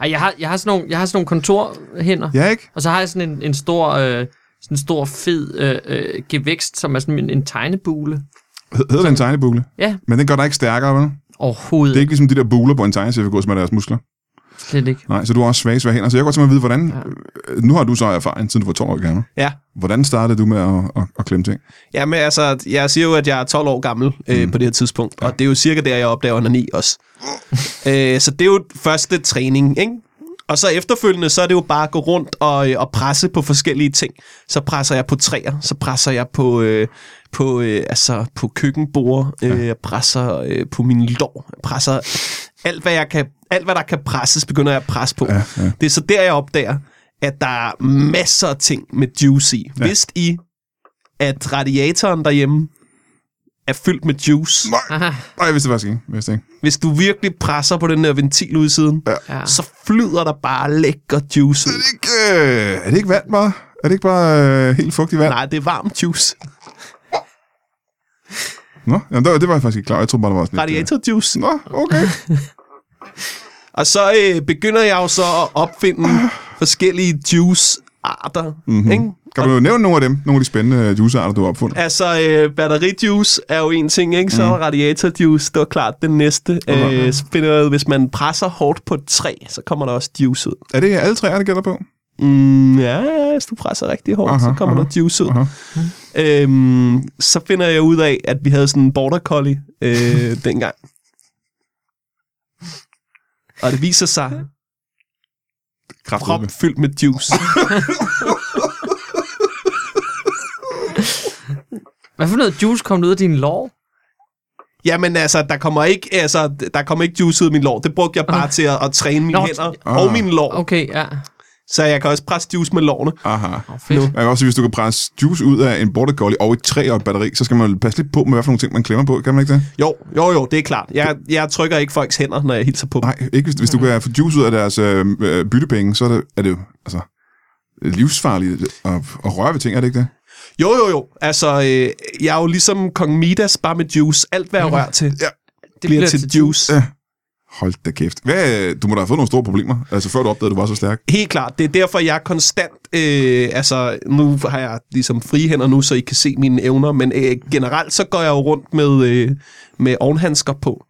Speaker 3: Ej, jeg har, jeg har sådan nogle, jeg har sådan nogle kontorhænder,
Speaker 1: Ja, ikke?
Speaker 3: og så har jeg sådan en, en stor... Øh, sådan en stor fed øh, øh, gevækst, som er sådan en, en tegnebule.
Speaker 1: Hed- Hedder det en tegnebugle?
Speaker 3: Ja.
Speaker 1: Men den gør dig ikke stærkere, vel?
Speaker 3: Overhovedet
Speaker 1: Det er ikke ligesom de der buler på en tegneseriefigur, som er deres muskler.
Speaker 3: slet ikke.
Speaker 1: Nej, så du har også svage, svage hænder. Så jeg kan godt tænke mig at vide, hvordan... Ja. Nu har du så erfaring, siden du var 12 år gammel.
Speaker 2: Ja.
Speaker 1: Hvordan startede du med at, at, at klemme ting?
Speaker 2: Jamen altså, jeg siger jo, at jeg er 12 år gammel øh, på det her tidspunkt, og det er jo cirka der, jeg opdager onani også. øh, så det er jo første træning, ikke? Og så efterfølgende, så er det jo bare at gå rundt og, øh, og presse på forskellige ting. Så presser jeg på træer, så presser jeg på, øh, på, øh, altså, på køkkenbord, øh, jeg presser øh, på mine lår, jeg presser alt, hvad jeg kan, alt, hvad der kan presses, begynder jeg at presse på.
Speaker 1: Ja, ja.
Speaker 2: Det er så der, jeg opdager, at der er masser af ting med juice i. Ja. Vidste I, at radiatoren derhjemme er fyldt med juice?
Speaker 1: Nej, nej, jeg vidste det faktisk ikke. Jeg vidste det ikke.
Speaker 2: Hvis du virkelig presser på den der ventil ude i siden,
Speaker 3: Ja.
Speaker 2: så flyder der bare lækker juice
Speaker 1: Er
Speaker 2: ud.
Speaker 1: det ikke, øh, er det ikke vand bare? Er det ikke bare øh, helt fugtigt vand?
Speaker 2: Nej, det er varm juice.
Speaker 1: Nå, jamen, det, var- det var jeg faktisk ikke klar. over. Jeg troede bare, det var sådan lidt, øh,
Speaker 2: Radiatorjuice.
Speaker 1: Nå, okay.
Speaker 2: Og så øh, begynder jeg jo så at opfinde forskellige juice-arter. Mm-hmm. Ikke?
Speaker 1: Kan du nævne nogle af dem? Nogle af de spændende øh, juicearter, du har opfundet?
Speaker 2: Altså, øh, batterijuice er jo en ting, ikke? Så mm. radiatorjuice, det var klart den næste. Øh, så finder jeg ud, hvis man presser hårdt på et træ, så kommer der også juice ud.
Speaker 1: Er det alle træer, det gælder på?
Speaker 2: Mm, ja, ja, hvis du presser rigtig hårdt, aha,
Speaker 1: Aha,
Speaker 2: så kommer aha,
Speaker 1: aha,
Speaker 2: der juice ud.
Speaker 1: aha.
Speaker 2: Øhm, så finder jeg ud af, at vi havde sådan en border collie øh, dengang. Og det viser sig,
Speaker 1: Kraftedeme.
Speaker 2: prop fyldt med juice.
Speaker 3: Hvad for noget juice kom der ud af dine lår?
Speaker 2: Jamen altså, der kommer ikke, altså, der kommer ikke juice ud af min lår. Det brugte jeg bare til at, at træne mine
Speaker 3: Nå,
Speaker 2: hænder
Speaker 1: ah.
Speaker 2: og mine lår.
Speaker 3: Okay, ja.
Speaker 2: Så jeg kan også presse juice med lårene.
Speaker 1: Aha.
Speaker 3: Oh, fedt.
Speaker 1: Man kan også sige, hvis du kan presse juice ud af en border collie og et træ og et batteri, så skal man jo passe lidt på med, hvad for nogle ting, man klemmer på. Kan man ikke det?
Speaker 2: Jo, jo, jo, det er klart. Jeg, jeg trykker ikke folks hænder, når jeg hilser på dem.
Speaker 1: Nej, ikke hvis, hvis du kan få juice ud af deres øh, øh, byttepenge, så er det, er det jo altså, livsfarligt at, at røre ved ting, er det ikke det?
Speaker 2: Jo, jo, jo. Altså, øh, jeg er jo ligesom Kong Midas, bare med juice. Alt, hvad jeg rører til,
Speaker 1: Ja.
Speaker 2: det bliver til juice.
Speaker 1: Ja. Hold da kæft. Hvad, øh, du må da have fået nogle store problemer, altså før du opdagede, at du var så stærk.
Speaker 2: Helt klart. Det er derfor, jeg er konstant... Øh, altså, nu har jeg ligesom frihænder nu, så I kan se mine evner, men øh, generelt så går jeg jo rundt med, øh, med ovenhandsker på.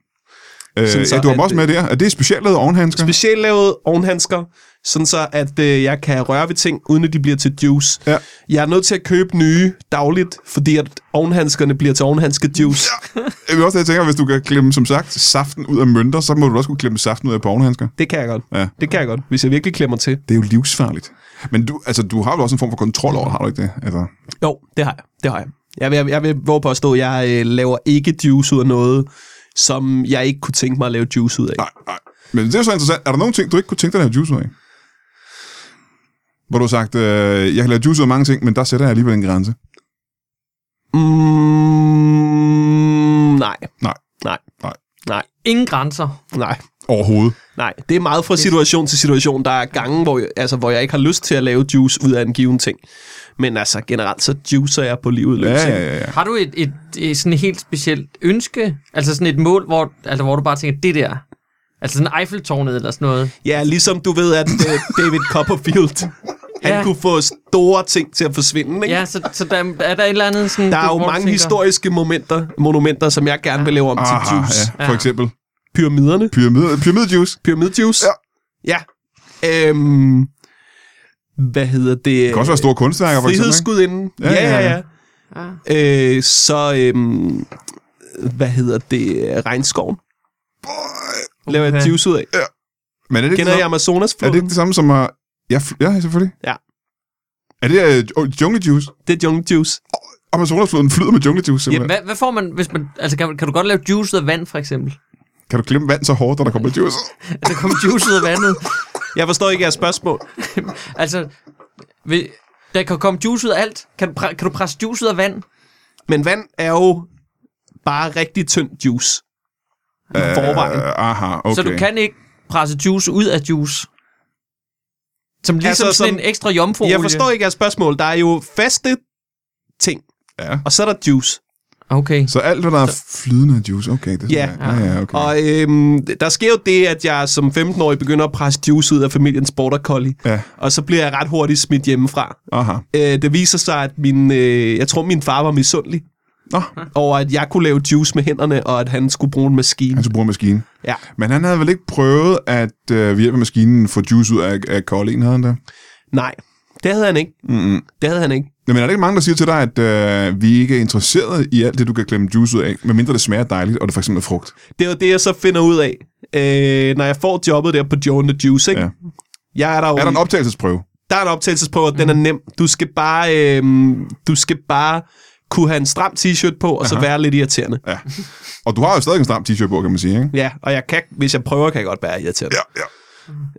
Speaker 1: Øh,
Speaker 2: Sådan så,
Speaker 1: ja, du har dem
Speaker 2: at,
Speaker 1: også med der. Er det specielt lavet ovenhandsker?
Speaker 2: Specielt lavet ovenhandsker, sådan så, at øh, jeg kan røre ved ting, uden at de bliver til juice.
Speaker 1: Ja.
Speaker 2: Jeg er nødt til at købe nye dagligt, fordi at ovenhandskerne bliver til ovenhandske juice. Ja.
Speaker 1: jeg vil også jeg tænker, hvis du kan klemme, som sagt, saften ud af mønter, så må du også kunne klemme saften ud af et par ovenhandsker.
Speaker 2: Det kan jeg godt.
Speaker 1: Ja.
Speaker 2: Det kan jeg godt, hvis jeg virkelig klemmer til.
Speaker 1: Det er jo livsfarligt. Men du, altså, du har jo også en form for kontrol over, det, har du ikke det? Altså,
Speaker 2: Jo, det har jeg. Det har jeg. Jeg vil, jeg vil våge på at stå, at jeg øh, laver ikke juice ud af noget, som jeg ikke kunne tænke mig at lave juice ud af.
Speaker 1: Nej, nej. Men det er jo så interessant. Er der nogle ting, du ikke kunne tænke dig at lave juice ud af? Hvor du har sagt, øh, jeg kan lave juice ud af mange ting, men der sætter jeg alligevel en grænse.
Speaker 2: Mm, nej,
Speaker 1: Nej,
Speaker 2: nej,
Speaker 1: nej.
Speaker 2: nej,
Speaker 3: Ingen grænser.
Speaker 2: nej.
Speaker 1: Overhovedet.
Speaker 2: Nej, det er meget fra situation til situation. Der er gange, hvor jeg, altså, hvor jeg ikke har lyst til at lave juice ud af en given ting. Men altså generelt, så juicer jeg på livet løs.
Speaker 1: Ja,
Speaker 2: ikke?
Speaker 1: ja, ja. ja.
Speaker 3: Har du et, et, et sådan et helt specielt ønske? Altså sådan et mål, hvor, altså, hvor du bare tænker, det der. Altså sådan Eiffeltårnet eller sådan noget.
Speaker 2: ja, ligesom du ved, at øh, David Copperfield, han
Speaker 3: Ja.
Speaker 2: kunne få store ting til at forsvinde. Ikke?
Speaker 3: Ja, så, så der, Mm, er der et eller andet sådan...
Speaker 2: Der er jo
Speaker 3: hvor du
Speaker 2: mange
Speaker 3: tænker-
Speaker 2: historiske momenter, monumenter, som jeg gerne vil lave om til
Speaker 1: Aha,
Speaker 2: juice.
Speaker 1: ja. For
Speaker 3: Ja.
Speaker 1: eksempel
Speaker 2: Pyramiderne.
Speaker 1: pyramide, pyramidejuice.
Speaker 2: Pyramidjuice.
Speaker 1: Ja.
Speaker 2: Ja. Øhm, hvad hedder det?
Speaker 1: Det kan også være store kunstværker, for eksempel. Ikke?
Speaker 2: Frihedsgudinden. Ja,
Speaker 1: Ja,
Speaker 2: ja,
Speaker 1: ja,
Speaker 2: ja. ja. Øh, så, øhm, hvad hedder det? Regnskoven. Laver jeg
Speaker 3: Uha.
Speaker 2: juice ud af.
Speaker 1: Men er det ikke,
Speaker 2: Kender
Speaker 1: det,
Speaker 2: jeg
Speaker 1: samme, er
Speaker 2: Amazonasfloden?
Speaker 1: det, ikke det samme som at... Ja, f- ja selvfølgelig.
Speaker 2: Ja.
Speaker 1: Er det uh, junglejuice?
Speaker 2: Det er jungle juice.
Speaker 1: Amazonasfloden flyder med junglejuice, simpelthen.
Speaker 3: Hvad, hvad får man, hvis man... Altså kan, kan du godt lave juice ud af vand, for eksempel?
Speaker 1: Kan du klemme vand så hårdt, når der kommer juice?
Speaker 3: Altså kom juice ud af vandet.
Speaker 2: Jeg forstår ikke jeres spørgsmål.
Speaker 3: Altså... Vi, der kan komme juice ud af alt. Kan du, pre- kan du presse juice ud af vand?
Speaker 2: Men vand er jo bare rigtig tynd juice. I forvejen.
Speaker 1: Uh, aha, okay.
Speaker 3: Okay. Så du kan ikke presse juice ud af juice. Som ligesom altså,
Speaker 2: Altså,
Speaker 3: sådan
Speaker 2: som-
Speaker 3: en ekstra jomfru
Speaker 2: Jeg forstår ikke jeres spørgsmål. Der er jo faste ting,
Speaker 1: Ja.
Speaker 2: og så er der juice.
Speaker 3: Okay.
Speaker 1: Så alt, hvad der er flydende juice, okay. Det er
Speaker 2: Ja.
Speaker 1: sådan, ja, ja, okay.
Speaker 2: Og øhm, der sker jo det, at jeg som 15-årig begynder at presse juice ud af familiens border collie.
Speaker 1: Ja.
Speaker 2: Og så bliver jeg ret hurtigt smidt hjemmefra.
Speaker 1: Aha.
Speaker 2: Øh, det viser sig, at min, øh, jeg tror, min far var misundelig
Speaker 1: Nå,
Speaker 2: over, at jeg kunne lave juice med hænderne, og at han skulle bruge en maskine.
Speaker 1: han skulle bruge en maskine.
Speaker 2: Ja.
Speaker 1: Men han havde vel ikke prøvet at øh, ved hjælp af maskinen få juice ud af, af koldingen, havde han det?
Speaker 2: Nej, det havde han ikke.
Speaker 1: Mm-mm.
Speaker 2: Det havde han ikke.
Speaker 1: Jamen, er der ikke mange, der siger til dig, at øh, vi ikke er interesseret i alt det, du kan klemme juice ud af, medmindre det smager dejligt, og det for eksempel er frugt?
Speaker 2: Det er jo det, jeg så finder ud af, øh, når jeg får jobbet der på Joe and the Juice. Ikke?
Speaker 1: Ja.
Speaker 2: Ja. Jeg er der, jo
Speaker 1: Er der
Speaker 2: i-
Speaker 1: en optagelsesprøve?
Speaker 2: der er en optagelsesprøve, og den er
Speaker 1: Mhm.
Speaker 2: nem. Du skal bare, øh, du skal bare kunne have en stram t-shirt på, og Aha. så være lidt irriterende.
Speaker 1: Ja. Og du har jo stadig en stram t-shirt på, kan man sige, ikke?
Speaker 2: Ja, og jeg kan, hvis jeg prøver, kan jeg godt være irriterende.
Speaker 1: Ja, ja.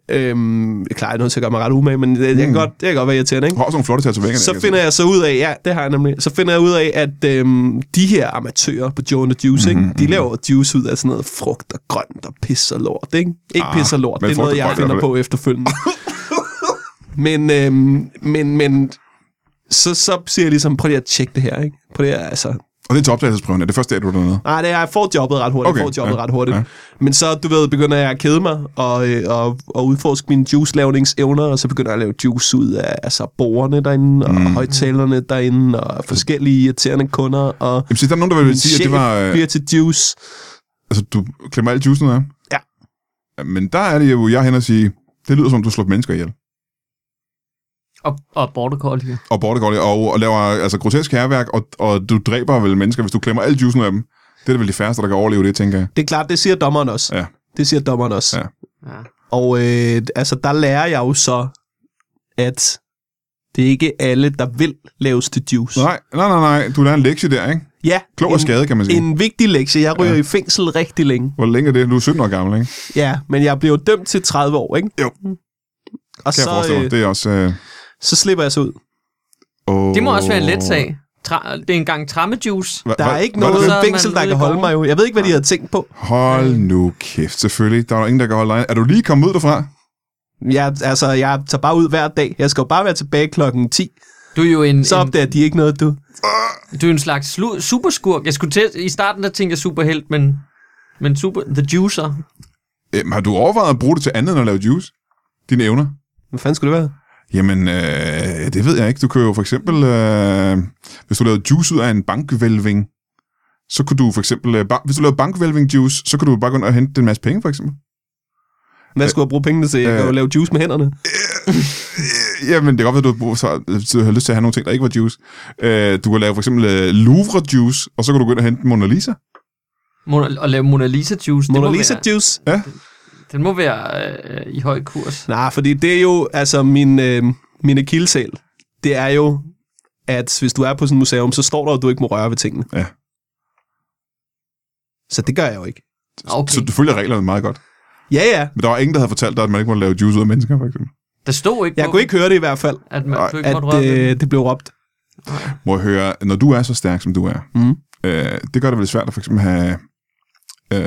Speaker 2: Ja. Øhm, jeg klarer noget til at gøre mig ret umage, men det, jeg,
Speaker 1: Mm.
Speaker 2: kan godt, jeg kan godt være irriterende,
Speaker 1: Du
Speaker 2: ikke?
Speaker 1: har også nogle flotte tatoveringer.
Speaker 2: Så finder jeg så ud af, ja, det har jeg nemlig, så finder jeg ud af, at øhm, de her amatører på Joe and the Juice,
Speaker 1: Mhm,
Speaker 2: mm-hmm, ikke, de laver juice ud af sådan noget frugt og grønt og pis og lort, ikke? Ikke
Speaker 1: Ah,
Speaker 2: ah, pis og lort,
Speaker 1: men
Speaker 2: det er
Speaker 1: frugt og
Speaker 2: noget, jeg
Speaker 1: grønt er
Speaker 2: finder
Speaker 1: det.
Speaker 2: på efterfølgende. men, øhm, men, men, så, så siger jeg ligesom, prøv lige at tjekke det her, ikke? Prøv lige at, altså,
Speaker 1: Og det er til optagelsesprøven, er det første dag, du er dernede?
Speaker 2: Nej, det er, jeg får jobbet ret hurtigt. Okay. Jeg
Speaker 1: Okay,
Speaker 2: får jobbet
Speaker 1: ja,
Speaker 2: ja. ret hurtigt.
Speaker 1: ja.
Speaker 2: Ja. Men så, du ved, begynder jeg at kede mig og, øh, og, og udforske mine juice-lavningsevner, og så begynder jeg at lave juice ud af altså, borgerne derinde, og mm. højtalerne derinde, og forskellige irriterende kunder, og
Speaker 1: Jamen, se, der er nogen, der Mm. vil
Speaker 2: min
Speaker 1: sige, at det var... Øh,
Speaker 2: bliver til juice.
Speaker 1: altså, du klemmer alt juicen af?
Speaker 2: Ja.
Speaker 1: Men der er det jo, jeg er hen og sige, det lyder som, du slår mennesker ihjel.
Speaker 3: Og, og border collie.
Speaker 1: Og border collie, og, og laver altså, grotesk herværk, og, og du dræber vel mennesker, hvis du klemmer alt juicen af dem. Det er da vel de færreste, der kan overleve det, tænker jeg.
Speaker 2: Det er klart, det siger dommeren også.
Speaker 1: Ja.
Speaker 2: Det siger dommeren også.
Speaker 1: Ja.
Speaker 2: Ja.
Speaker 3: Ja.
Speaker 2: Og øh, altså, der lærer jeg jo så, at det er ikke alle, der vil laves til juice.
Speaker 1: Nej, nej, nej, nej. Du lærer en lektie der, ikke?
Speaker 2: Ja,
Speaker 1: Klog og
Speaker 2: en-
Speaker 1: skade, kan man sige.
Speaker 2: En vigtig lektie. Jeg ryger
Speaker 1: Ja.
Speaker 2: ja. i fængsel rigtig længe.
Speaker 1: Hvor længe er det? Du er 17 år gammel, ikke?
Speaker 2: Ja, men jeg blev jo dømt til 30 år, ikke? Mm.
Speaker 1: Jo.
Speaker 2: Og
Speaker 1: Kan jeg
Speaker 2: så,
Speaker 1: forestille mig.
Speaker 2: øh,
Speaker 1: Det er også... Øh,
Speaker 2: så slipper jeg så ud.
Speaker 1: åh.
Speaker 3: Det må også være en let sag. Tra- det er engang trammejuice.
Speaker 1: Hva-
Speaker 2: Der
Speaker 1: hva-
Speaker 2: er ikke
Speaker 1: hvad
Speaker 2: noget
Speaker 1: det?
Speaker 3: Så er
Speaker 2: fængsel,
Speaker 3: man
Speaker 2: der
Speaker 3: ude
Speaker 2: kan
Speaker 3: i
Speaker 2: holde
Speaker 3: gården.
Speaker 2: mig jo. Jeg ved ikke, hvad de havde tænkt på.
Speaker 1: Hold nu kæft, selvfølgelig. Der er jo ingen, der kan holde dig. Er du lige kommet ud derfra?
Speaker 2: Jeg, altså, jeg tager bare ud hver dag. Jeg skal jo bare være tilbage klokken 10.
Speaker 3: Du er jo en,
Speaker 2: Så
Speaker 3: en,
Speaker 2: opdager de ikke noget, du.
Speaker 3: du er en slags slu- superskurk. Jeg skulle til, I starten der tænkte jeg superhelt, men, men super, the juicer.
Speaker 1: Øhm, har du overvejet at bruge det til andet end at lave juice? Dine evner?
Speaker 2: Hvad fanden skulle det være?
Speaker 1: Jamen, øh, det ved jeg ikke. Du kan jo for eksempel, øh, hvis du lavede juice ud af en bankvælving, så kunne du for eksempel, øh, ba- hvis du lavede bankvælving juice, så kunne du bare gå ind og hente en masse penge, for eksempel.
Speaker 2: Hvad skulle jeg bruge pengene til? Jeg kan jo lave juice med hænderne.
Speaker 1: Øh, Jamen, det kan godt være, at du, har brug- så, så har lyst til at have nogle ting, der ikke var juice. Øh, du kunne lave for eksempel øh, Louvre juice, og så kunne du gå ind og hente Mona Lisa.
Speaker 3: Mona, at lave Mona Lisa juice.
Speaker 2: Mona
Speaker 3: det må
Speaker 2: Lisa
Speaker 3: være,
Speaker 2: juice.
Speaker 3: Den må være øh, i høj kurs.
Speaker 2: Nej, fordi det er jo, altså, min, øh, min akillesal. Det er jo, at hvis du er på sådan et museum, så står der, at du ikke må røre ved tingene.
Speaker 1: Ja.
Speaker 2: Så det gør jeg jo ikke.
Speaker 3: Okay.
Speaker 1: Så du følger reglerne meget godt.
Speaker 2: Ja, ja.
Speaker 1: Men der var ingen, der havde fortalt dig, at man ikke måtte lave juice ud af mennesker, for eksempel.
Speaker 3: Der stod ikke,
Speaker 2: Jeg
Speaker 3: på,
Speaker 2: kunne ikke høre det i hvert fald.
Speaker 3: at man du ikke
Speaker 2: at
Speaker 3: måtte røre ved den.
Speaker 2: øh, det blev råbt.
Speaker 1: Må jeg høre, når du er så stærk, som du er,
Speaker 2: Mm.
Speaker 1: øh, det gør det vel svært at for eksempel have øh,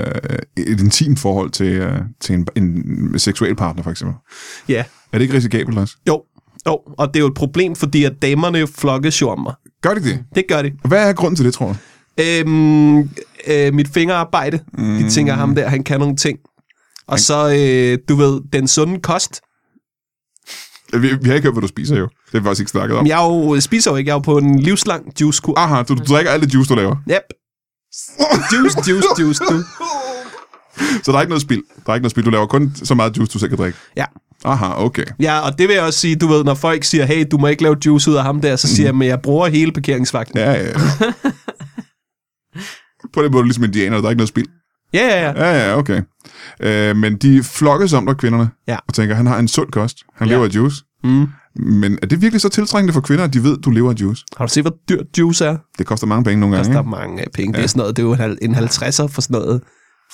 Speaker 1: et intimt forhold til, øh, til en, en seksuel partner, for eksempel.
Speaker 2: Ja.
Speaker 1: Er det ikke risikabelt også?
Speaker 2: Jo. jo, og det er jo et problem, fordi at damerne jo flokkes jo om mig.
Speaker 1: Gør det ikke det?
Speaker 2: Det gør de.
Speaker 1: Hvad er grunden til det, tror du?
Speaker 2: Øhm, øh, mit fingerarbejde. Mm. De tænker, ham der, han kan nogle ting. Og så, øh, du ved, den sunde kost.
Speaker 1: Vi, vi har ikke hørt, hvad du spiser jo. Det har vi faktisk ikke snakket om.
Speaker 2: Men jeg er jo, øh, spiser jo ikke, jeg er jo på en livslang juicekur.
Speaker 1: Aha, du, du drikker alt det juice, du laver.
Speaker 2: Yep. Juice, juice, juice, du.
Speaker 1: Så der er ikke noget spild. Der er ikke noget spild. Du laver kun så meget juice, du selv kan drikke.
Speaker 2: Ja.
Speaker 1: Aha, okay.
Speaker 2: ja, og det vil jeg også sige, du ved, når folk siger, hey, du må ikke lave juice ud af ham der, så siger jeg, men jeg bruger hele parkeringsvagten.
Speaker 1: Ja, ja, ja. På den måde er du ligesom indianer, der er ikke noget spild.
Speaker 2: Ja, ja, ja.
Speaker 1: Ja, ja, okay. Øh, men de flokkes om dig, kvinderne,
Speaker 2: Ja.
Speaker 1: og tænker, han har en sund kost. Han ja.
Speaker 2: Ja.
Speaker 1: lever af juice.
Speaker 2: Mm.
Speaker 1: Men er det virkelig så tiltrængende for kvinder, at de ved, du lever af juice?
Speaker 2: Har du set, hvor dyrt juice er?
Speaker 1: Det koster mange penge nogle
Speaker 2: Det
Speaker 1: gange,
Speaker 2: koster
Speaker 1: ikke?
Speaker 2: mange penge. Det er sådan noget, det er jo en hal- en 50'er for sådan noget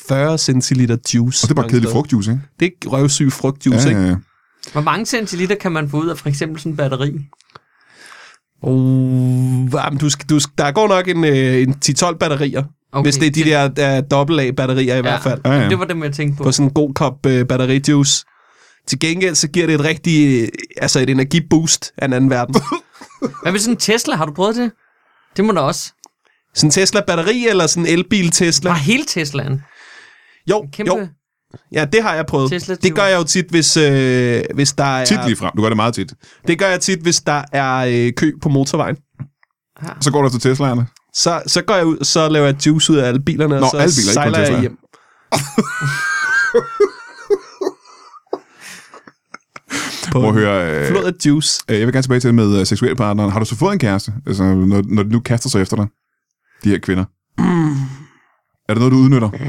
Speaker 2: 40 centiliter juice.
Speaker 1: Og det er bare
Speaker 2: mange
Speaker 1: kedelig
Speaker 2: steder.
Speaker 1: frugtjuice, ikke?
Speaker 2: Det er røvsyg frugtjuice, ja,
Speaker 1: ja,
Speaker 2: ikke?
Speaker 1: ja.
Speaker 3: Hvor mange centiliter kan man få ud af for eksempel sådan en batteri?
Speaker 2: Uh, jamen, du skal, du skal, der går nok en, øh, en 10-12 batterier, okay. hvis det er de der, der dobbelt A-batterier i ja. hvert fald.
Speaker 1: Ja, ja.
Speaker 3: Det var dem, jeg tænkte på.
Speaker 2: På sådan en god kop øh, batterijuice. Til gengæld så giver det et rigtig, øh, altså et energiboost af en anden verden.
Speaker 3: Hvad med sådan en Tesla? Har du prøvet det? Det må da også.
Speaker 2: Sådan Tesla-batteri eller sådan elbil-Tesla?
Speaker 3: Var hele Teslaen.
Speaker 2: jo,
Speaker 3: Kæmpe
Speaker 2: jo. Ja, det har jeg prøvet.
Speaker 3: Tesla-typer.
Speaker 2: det gør jeg jo tit, hvis, øh, hvis der er...
Speaker 1: Tit lige frem. Du gør det meget tit.
Speaker 2: Det gør jeg tit, hvis der er øh, kø på motorvejen.
Speaker 1: Så går du til Tesla'erne.
Speaker 2: Så, så går jeg ud, og så laver jeg juice ud af alle bilerne,
Speaker 1: Nå,
Speaker 2: og så
Speaker 1: alle biler, ikke kun
Speaker 2: sejler jeg
Speaker 1: Tesla.
Speaker 2: hjem. på
Speaker 1: Må
Speaker 2: en
Speaker 1: jeg høre, øh,
Speaker 2: flod af juice.
Speaker 1: øh, jeg vil gerne tilbage til det med øh, seksuelle partnere. Har du så fået en kæreste, altså, når, når de nu kaster sig efter dig? De her kvinder.
Speaker 2: Mm.
Speaker 1: Er det noget, du udnytter?
Speaker 2: Det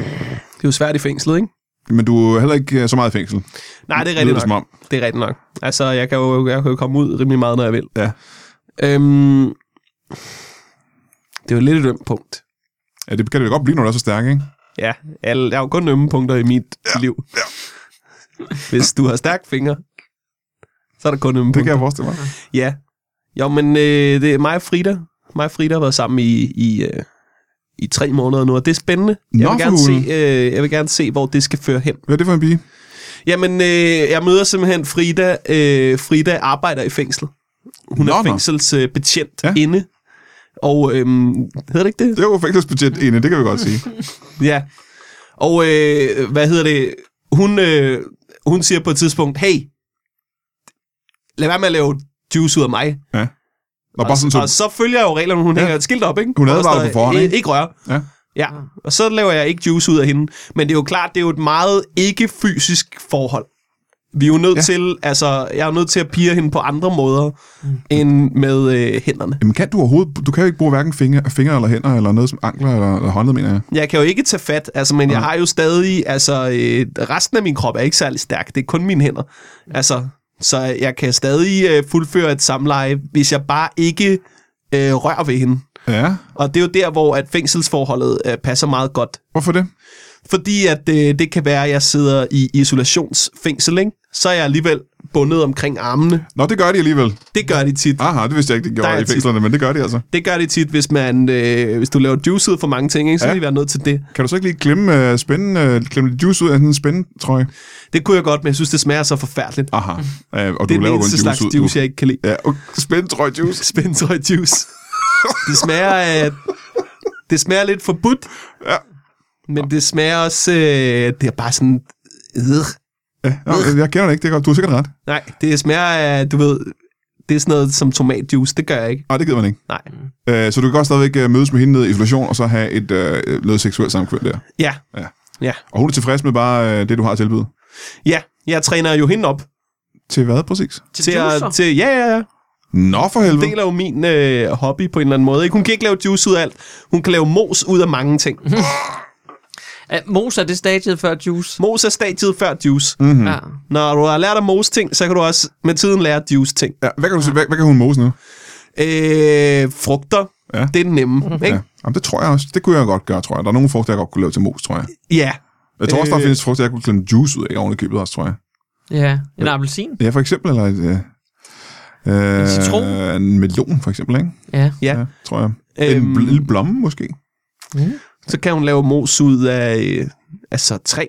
Speaker 2: er jo svært i fængslet, ikke?
Speaker 1: Men du er heller ikke øh, så meget i fængsel.
Speaker 2: Nej, det er
Speaker 1: Lyder
Speaker 2: rigtigt
Speaker 1: det som
Speaker 2: nok.
Speaker 1: om.
Speaker 2: Det er rigtigt nok. Altså, jeg kan jo, jeg kan jo komme ud rimelig meget, når jeg vil.
Speaker 1: Ja.
Speaker 2: Øhm, det er jo lidt et ømt punkt.
Speaker 1: Ja, det kan det jo godt blive, når du er så stærk, ikke?
Speaker 2: Ja, alle, jeg har jo kun ømme punkter i mit ja, liv. Ja. Hvis du har stærke fingre, så er der kun
Speaker 1: Det
Speaker 2: ømme
Speaker 1: kan
Speaker 2: punkter.
Speaker 1: jeg forestille mig.
Speaker 2: Ja. Jo, men øh, det er mig og Frida. Mig og Frida har været sammen i, i, øh, i tre måneder nu, og det er spændende. Jeg
Speaker 1: Nå,
Speaker 2: vil,
Speaker 1: for
Speaker 2: gerne se,
Speaker 1: hulen.
Speaker 2: øh, jeg vil gerne se, hvor det skal føre hen.
Speaker 1: Hvad er det for en pige?
Speaker 2: Jamen, øh, jeg møder simpelthen Frida. Øh, Frida arbejder i fængslet. Hun
Speaker 1: Nå,
Speaker 2: er
Speaker 1: nå.
Speaker 2: fængselsbetjent
Speaker 1: Ja.
Speaker 2: ja. inde. Og øhm, hedder det ikke det?
Speaker 1: Det er jo fængselsbudget ene, det kan vi godt sige.
Speaker 2: Ja. Og øh, hvad hedder det? Hun, øh, hun siger på et tidspunkt, hey, lad være med at lave juice ud af mig.
Speaker 1: Nå, bare sådan, så,
Speaker 2: Og så følger jeg jo reglerne, hun
Speaker 1: Ja.
Speaker 2: ja. hænger et skilt op, ikke?
Speaker 1: Hun
Speaker 2: Hvor der
Speaker 1: advarer
Speaker 2: står,
Speaker 1: på forhånd,
Speaker 2: "I-
Speaker 1: ikke?"
Speaker 2: Ikke rør.
Speaker 1: Ja.
Speaker 2: ja. Og så laver jeg ikke juice ud af hende. Men det er jo klart, det er jo et meget ikke-fysisk forhold. Vi er jo nødt
Speaker 1: Ja.
Speaker 2: ja. til, altså, jeg er jo nødt til at pige hende på andre måder, mm. end med øh, hænderne.
Speaker 1: jamen, kan du overhovedet... Du kan jo ikke bruge hverken fingre, fingre eller hænder, eller noget som ankler eller, eller håndled, mener jeg.
Speaker 2: Jeg kan jo ikke tage fat, altså, men jeg har jo stadig, altså, øh, resten af min krop er ikke særlig stærk. Det er kun mine hænder. Altså, så jeg kan stadig øh, fuldføre et samleje, hvis jeg bare ikke øh, rører ved hende.
Speaker 1: Ja,
Speaker 2: Og det er jo der, hvor at fængselsforholdet øh, passer meget godt.
Speaker 1: hvorfor det?
Speaker 2: Fordi at øh, det kan være, at jeg sidder i isolationsfængsel, ikke? så er jeg alligevel bundet omkring armene.
Speaker 1: Nå, det gør de alligevel.
Speaker 2: Det gør de tit.
Speaker 1: Aha, det vidste jeg ikke, de
Speaker 2: Der
Speaker 1: gjorde
Speaker 2: er
Speaker 1: i
Speaker 2: tit-
Speaker 1: fængslerne, men det gør de altså.
Speaker 2: Det gør de tit, hvis, man, øh, hvis du laver juice ud for mange ting, ikke? så
Speaker 1: Ja.
Speaker 2: ja. vil jeg være nødt til det.
Speaker 1: Kan du så ikke lige klemme, uh, spænde, uh, klemme lidt juice ud af sådan en spændetrøje?
Speaker 2: Det kunne jeg godt, men jeg synes, det smager så forfærdeligt.
Speaker 1: Aha, uh, og
Speaker 2: Det
Speaker 1: du
Speaker 2: er den
Speaker 1: laver kun
Speaker 2: eneste
Speaker 1: juice
Speaker 2: slags
Speaker 1: ud.
Speaker 2: juice,
Speaker 1: du.
Speaker 2: jeg ikke kan lide.
Speaker 1: Ja, okay. spændetrøje juice.
Speaker 2: Spændtøj juice. Det smager af... Det smager lidt forbudt.
Speaker 1: Ja.
Speaker 2: Men det smager også... Øh, det er bare sådan... Øh,
Speaker 1: Ja, nå, jeg kender det ikke, det er godt. Du har sikkert ret.
Speaker 2: nej, det smager af... Du ved... Det er sådan noget som tomatjuice. Det gør jeg ikke.
Speaker 1: Nej, det gider man ikke.
Speaker 2: Nej.
Speaker 1: Uh, så du kan godt stadigvæk uh, mødes med hende nede i isolation, og så have et uh, noget seksuelt samkvem der.
Speaker 2: Ja.
Speaker 1: Ja.
Speaker 2: Ja.
Speaker 1: Og hun er tilfreds med bare uh, det, du har at tilbyde.
Speaker 2: Ja, jeg træner jo hende op.
Speaker 1: Til hvad præcis?
Speaker 3: Til,
Speaker 2: Til,
Speaker 3: juicer.
Speaker 2: at, til ja, ja, ja.
Speaker 1: Nå for helvede.
Speaker 2: Deler jo min øh, hobby på en eller anden måde. Ikke? Hun kan ikke lave juice ud af alt. Hun kan lave mos ud af mange ting.
Speaker 3: Mhm. Er Mos er det stadiet før juice.
Speaker 2: Mos er stadiet før juice. Mm.
Speaker 3: Mm. Ja.
Speaker 2: Når du har lært at mose ting, så kan du også med tiden lære juice ting.
Speaker 1: Ja, hvad kan, du, se- hvad, hvad kan hun mose nu?
Speaker 2: Øh, frugter.
Speaker 1: Ja. Mhm.
Speaker 2: Ja. Det er den nemme, ikke?
Speaker 1: Ja.
Speaker 2: Ja.
Speaker 1: Jamen, det tror jeg også. Det kunne jeg godt gøre, tror jeg. Der er nogle frugter, jeg godt kunne lave til mos, tror jeg.
Speaker 2: ja.
Speaker 1: Jeg tror også, der
Speaker 2: Øh.
Speaker 1: findes frugter, jeg kunne klemme juice ud af oven i købet også, tror jeg.
Speaker 3: ja. En appelsin.
Speaker 1: Ja, for eksempel, eller et... Øh, øh,
Speaker 3: En citron?
Speaker 1: En melon, for eksempel, ikke?
Speaker 3: Ja.
Speaker 2: Ja.
Speaker 1: Ja, tror jeg. En
Speaker 2: Øhm.
Speaker 1: bl- lille blomme, måske?
Speaker 2: Så kan hun lave mos ud af øh, altså træ,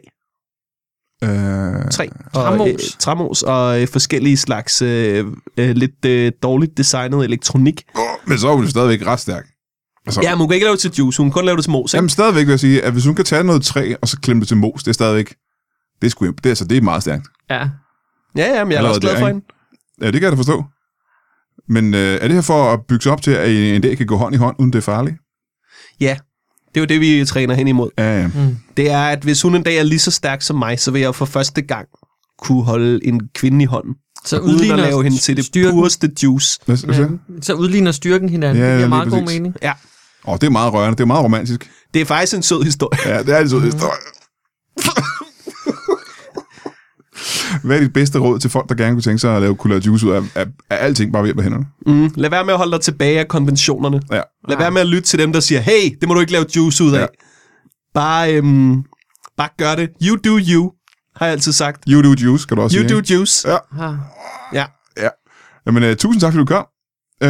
Speaker 1: Øh,
Speaker 2: træ og,
Speaker 3: Træmos.
Speaker 2: øh, træmos og øh, forskellige slags øh, øh, lidt øh, dårligt designet elektronik.
Speaker 1: åh, men så er hun jo stadigvæk ret stærk. Altså,
Speaker 2: Ja, men hun kan ikke lave det til juice, hun kan kun lave det til mos. ikke?
Speaker 1: Jamen, stadigvæk vil jeg sige, at hvis hun kan tage noget træ, og så klemme det til mos, det er stadigvæk... Det er, sgu, det er, altså, det er meget stærkt.
Speaker 3: ja.
Speaker 2: Ja, ja, men jeg er da
Speaker 1: Allerede
Speaker 2: også glad
Speaker 1: der,
Speaker 2: for
Speaker 1: ikke?
Speaker 2: hende.
Speaker 1: Ja, det kan jeg da forstå. Men øh, er det her for at bygge sig op til, at I en dag kan gå hånd i hånd, uden det er farligt?
Speaker 2: Ja, det er jo det, vi træner hen imod.
Speaker 1: Ja, ja.
Speaker 2: Det er, at hvis hun en dag er lige så stærk som mig, så vil jeg for første gang kunne holde en kvinde i hånden.
Speaker 3: Så
Speaker 2: Uden at
Speaker 3: udligner,
Speaker 2: lave hende til det
Speaker 3: styrken.
Speaker 2: pureste juice.
Speaker 1: Hvad, hvad siger du?
Speaker 3: så udligner styrken hinanden.
Speaker 1: Ja,
Speaker 3: Ja,
Speaker 1: lige
Speaker 3: det giver meget god
Speaker 1: præcis.
Speaker 3: mening.
Speaker 2: Ja,
Speaker 1: Åh, det er meget rørende. Det er meget romantisk.
Speaker 2: det er faktisk en sød historie.
Speaker 1: Ja, det er altid
Speaker 2: Mm.
Speaker 1: historie. Hvad er dit bedste råd til folk, der gerne kunne tænke sig at lave kunne lave juice ud af, af, af alting bare ved hjælp af hænderne?
Speaker 2: Mm. Lad være med at holde dig tilbage af konventionerne.
Speaker 1: Ja.
Speaker 2: Lad være med at lytte til dem, der siger, hey, det må du ikke lave juice ud af.
Speaker 1: Ja.
Speaker 2: Ja. Bare, øhm, bare gør det. You do you, har jeg altid sagt.
Speaker 1: You do juice, kan du også
Speaker 2: You
Speaker 1: sige.
Speaker 2: do
Speaker 1: ikke?
Speaker 2: juice.
Speaker 1: Ja.
Speaker 2: Ja.
Speaker 3: Ja.
Speaker 2: ja.
Speaker 1: Jamen, uh, tusind tak, fordi du kom. Uh,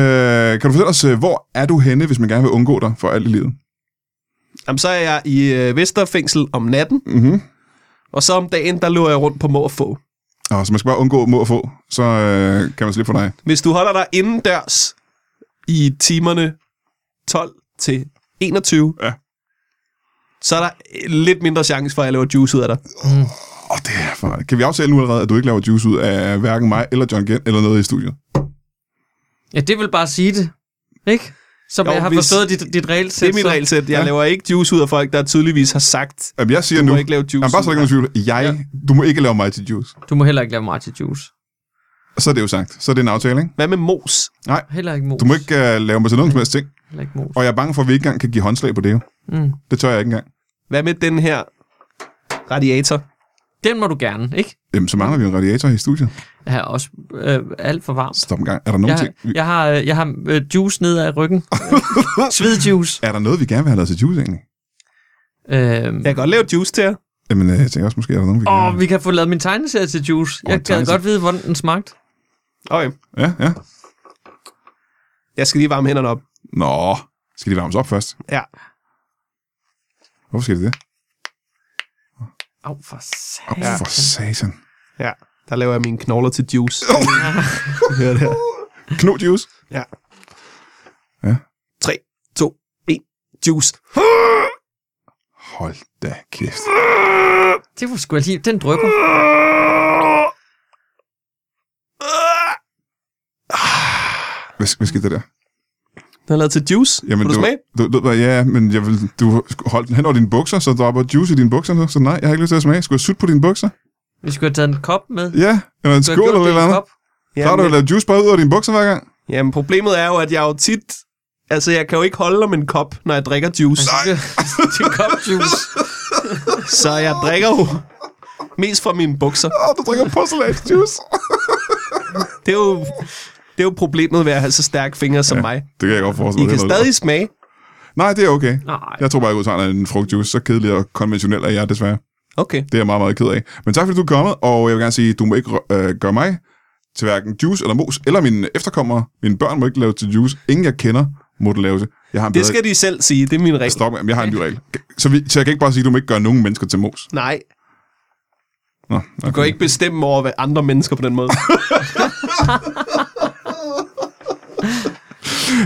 Speaker 1: kan du fortælle os, uh, hvor er du henne, hvis man gerne vil undgå dig for alt i livet?
Speaker 2: Jamen, så er jeg i øh, Vesterfængsel om natten,
Speaker 1: Mm-hmm.
Speaker 2: og så om dagen, der løber jeg rundt på må og få.
Speaker 1: Og så man skal bare undgå må og få, så uh, kan man slippe for dig.
Speaker 2: Hvis du holder dig indendørs i timerne 12 til 21,
Speaker 1: Ja.
Speaker 2: så er der øh, lidt mindre chance for, at jeg laver juice ud af dig.
Speaker 1: Åh, det er for... Kan vi aftale nu allerede, at du ikke laver juice ud af hverken mig eller John Gent eller noget i studiet?
Speaker 3: Ja, det vil bare sige det. Ikke? Som
Speaker 2: Jo,
Speaker 3: jo, jeg har
Speaker 2: hvis-
Speaker 3: forstået dit, dit regelsæt.
Speaker 2: Det er mit
Speaker 3: så-
Speaker 2: regelsæt. Jeg
Speaker 1: Ja.
Speaker 2: laver ikke juice ud af folk, der tydeligvis har sagt,
Speaker 1: Jamen, jeg siger
Speaker 2: du
Speaker 1: nu...
Speaker 2: må ikke lave juice
Speaker 1: Jamen, bare så der
Speaker 2: ud
Speaker 1: ikke
Speaker 2: af
Speaker 1: er nogen tvivl. Jeg, du må ikke lave mig til juice.
Speaker 3: Du må heller ikke lave mig til juice.
Speaker 1: Og Så er det jo sagt. Så er det en aftale, ikke?
Speaker 2: Hvad med mos?
Speaker 3: Heller ikke mos.
Speaker 1: Du må ikke uh, lave mig til nogen som helst ting.
Speaker 3: Heller ikke mos.
Speaker 1: Og jeg er bange for, at vi ikke engang kan give håndslag på det jo.
Speaker 3: Mm.
Speaker 1: Det tør jeg ikke engang.
Speaker 2: Hvad med den her radiator?
Speaker 3: Den må du gerne, ikke?
Speaker 1: Jamen, så mangler vi en radiator i studiet.
Speaker 3: Jeg har også øh, alt for varmt.
Speaker 1: Stop en gang. Er der nogen
Speaker 3: Jeg,
Speaker 1: ting? Vi...
Speaker 3: jeg har, øh, jeg har øh, juice ned ad ryggen. Svedjuice.
Speaker 1: Er der noget, vi gerne vil have lavet til juice, egentlig?
Speaker 3: Øhm,
Speaker 2: Jeg kan godt lave juice til jer.
Speaker 1: Jamen, øh, jeg tænker også, måske er der nogen, vi gerne
Speaker 3: Åh, vi kan få lavet min tegneserie til Juice.
Speaker 1: Åh,
Speaker 3: jeg
Speaker 1: en
Speaker 3: gad
Speaker 1: tegneserie.
Speaker 3: godt vide, hvordan den smagte.
Speaker 2: Okay,
Speaker 1: Ja, ja.
Speaker 2: jeg skal lige varme hænderne op.
Speaker 1: Nå, skal de varmes op først?
Speaker 2: Ja.
Speaker 1: Hvorfor skal de det?
Speaker 3: Åh, oh, for
Speaker 1: Åh,
Speaker 3: satan.
Speaker 1: oh, for satan.
Speaker 2: Ja, der laver jeg mine knogler til juice. Hør det her.
Speaker 1: Kno juice.
Speaker 2: Ja.
Speaker 1: Ja.
Speaker 2: 3, 2, 1. Juice.
Speaker 1: Hold da kæft.
Speaker 3: Det var sgu altså lige... Den drypper.
Speaker 1: Hvad, hvad skete der der?
Speaker 2: Den er lavet til juice. Jamen, Får du
Speaker 1: du,
Speaker 2: smag?
Speaker 1: du, du, du, ja, men jeg vil, du holdt den hen over dine bukser, så dropper juice i dine bukser. Så, så nej, jeg har ikke lyst til at smage. Skulle jeg sutte på dine bukser?
Speaker 3: Vi skulle have taget en kop med.
Speaker 1: Ja, eller en
Speaker 3: Du
Speaker 1: skål
Speaker 3: har gjort
Speaker 1: eller et
Speaker 3: det i
Speaker 1: eller
Speaker 3: en
Speaker 1: andet.
Speaker 3: kop.
Speaker 1: Så har du
Speaker 2: Jamen,
Speaker 1: lavet juice bare ud over dine bukser hver gang.
Speaker 2: jamen, problemet er jo, at jeg jo tit... Altså, jeg kan jo ikke holde om en kop, når jeg drikker juice.
Speaker 3: Til kopjuice.
Speaker 2: Så jeg drikker jo mest fra mine bukser.
Speaker 1: Åh, du drikker porcelænsjuice.
Speaker 2: Det er jo, det er jo problemet ved at have så stærke fingre som ja. mig.
Speaker 1: det kan jeg godt forestille
Speaker 2: I
Speaker 1: mig.
Speaker 2: kan
Speaker 1: Det er noget
Speaker 2: stadig smage.
Speaker 1: lort. Nej, det er okay.
Speaker 3: Nej.
Speaker 1: Jeg tror bare, jeg udtager en frugtjuice. Så kedelig og konventionel er jeg desværre.
Speaker 2: Okay.
Speaker 1: Det er jeg meget, meget ked af. Men tak fordi du er kommet, og jeg vil gerne sige, du må ikke øh, gøre mig til hverken juice eller mos, eller mine efterkommere. Mine børn må ikke lave til juice. Ingen jeg kender må det lave til. Jeg har en
Speaker 2: Det
Speaker 1: bedre-
Speaker 2: skal de selv sige. Det er min regel.
Speaker 1: Stop, jamen, jeg har en ny regel. Så, vi, så jeg kan ikke bare sige, at du må ikke gøre nogen mennesker til mos.
Speaker 2: Nej,
Speaker 1: Nå,
Speaker 2: du kan ikke bestemme over hvad andre mennesker på den måde.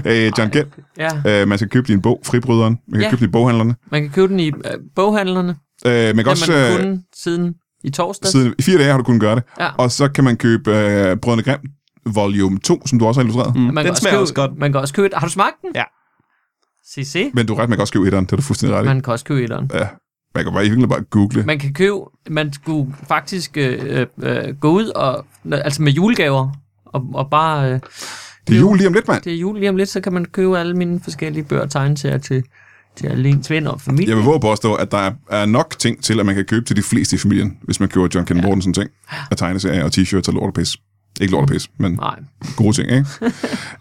Speaker 1: Øh, John Gell,
Speaker 3: Ja,
Speaker 1: øh, man skal købe din bog, Fribryderen. Man kan ja.
Speaker 3: Ja.
Speaker 1: købe din boghandlerne.
Speaker 3: man kan købe den i øh, boghandlerne.
Speaker 1: Øh, man kan
Speaker 3: Det
Speaker 1: også...
Speaker 3: man
Speaker 1: Øh,
Speaker 3: kunne siden i torsdag.
Speaker 1: siden, I fire dage har du kunnet gøre det.
Speaker 3: Ja.
Speaker 1: Og så kan man købe øh, Brødrene Grimm, volume 2, som du også har illustreret. Mm.
Speaker 2: Mm,
Speaker 3: Man
Speaker 2: den
Speaker 3: kan
Speaker 2: smager
Speaker 3: købe,
Speaker 2: også godt.
Speaker 3: Man kan også købe et... Har du smagt den?
Speaker 2: Ja.
Speaker 3: Se, se.
Speaker 1: Men du er ret, man kan også købe etteren, det er du fuldstændig ret i.
Speaker 3: Man kan også købe etteren.
Speaker 1: Ja, man kan bare, i virkeligheden bare google.
Speaker 3: Man kan købe... Man skulle faktisk øh, øh, øh, gå ud og... Altså med julegaver. Og, og bare... Øh,
Speaker 1: det er jul lige om lidt, mand.
Speaker 3: det er jul lige om lidt, så kan man købe alle mine forskellige bøger og tegneserier til, til alle ens venner og familie.
Speaker 1: Jeg vil våge at påstå, at der er- er nok ting til, at man kan købe til de fleste i familien, hvis man køber John Ken ja. Mortensen ting, og tegneserier og t-shirts og lort og pis. Ikke lort og pis, men
Speaker 3: Nej.
Speaker 1: gode ting, ikke?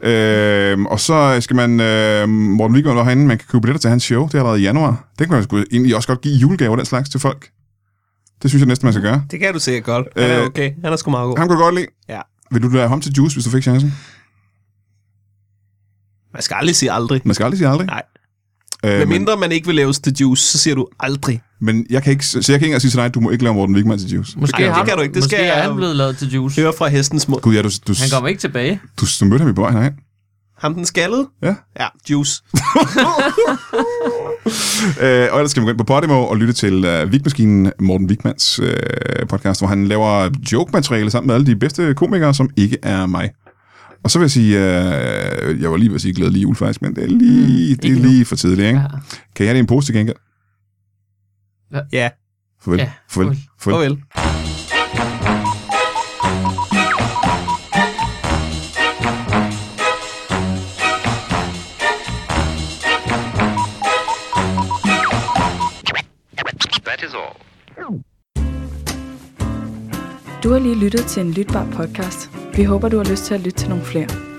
Speaker 1: øhm, og så skal man, øh, Morten Wigman var herinde, man kan købe billetter til hans show, det er allerede i januar. Det kan man sgu egentlig også godt give i julegaver, den slags, til folk. Det synes jeg næsten, man skal gøre.
Speaker 2: Det kan du sikkert godt. Han er
Speaker 1: Øh,
Speaker 2: okay. Han er sgu meget god.
Speaker 1: Ham kan du godt lide.
Speaker 2: Ja.
Speaker 1: Vil du lade ham til Juice, hvis du fik chancen?
Speaker 2: Man skal aldrig sige aldrig.
Speaker 1: Man skal aldrig sige aldrig.
Speaker 2: Nej.
Speaker 1: Øh,
Speaker 2: Hvad
Speaker 1: men,
Speaker 2: mindre man ikke vil laves til juice, så siger du aldrig.
Speaker 1: men, jeg kan ikke, så jeg kan ikke engang sige til dig, at du må ikke lave Morten Wigman til Juice.
Speaker 3: Måske
Speaker 2: Ej, det
Speaker 3: har-
Speaker 2: kan du ikke. Det
Speaker 3: måske
Speaker 2: skal
Speaker 3: er
Speaker 2: jeg-
Speaker 3: han blevet lavet til juice.
Speaker 2: Hør fra hestens mund.
Speaker 1: Gud, ja, du, du,
Speaker 3: Han kommer ikke tilbage.
Speaker 1: du, du mødte ham i bøjen herind.
Speaker 2: Ham den skaldede?
Speaker 1: Ja.
Speaker 2: Ja, juice.
Speaker 1: Øh, og ellers skal man gå ind på Podimo og lytte til øh, Vigmaskinen, Morten Vigmans øh, podcast, hvor han laver joke-materiale sammen med alle de bedste komikere, som ikke er mig. Og så vil jeg sige, øh, jeg var lige ved at sige glædelig jul faktisk, men det er lige, mm, det er
Speaker 3: ikke nu.
Speaker 1: lige for tidligt, ikke? Ja.
Speaker 3: Ja.
Speaker 1: Kan jeg have det i en pose til gengæld?
Speaker 2: Ja,
Speaker 1: Farvel.
Speaker 3: Ja,
Speaker 1: farvel.
Speaker 3: farvel.
Speaker 1: farvel.
Speaker 2: farvel.
Speaker 5: That is all.
Speaker 6: Du har lige lyttet til en lytbar podcast. Vi håber, du har lyst til at lytte til nogle flere.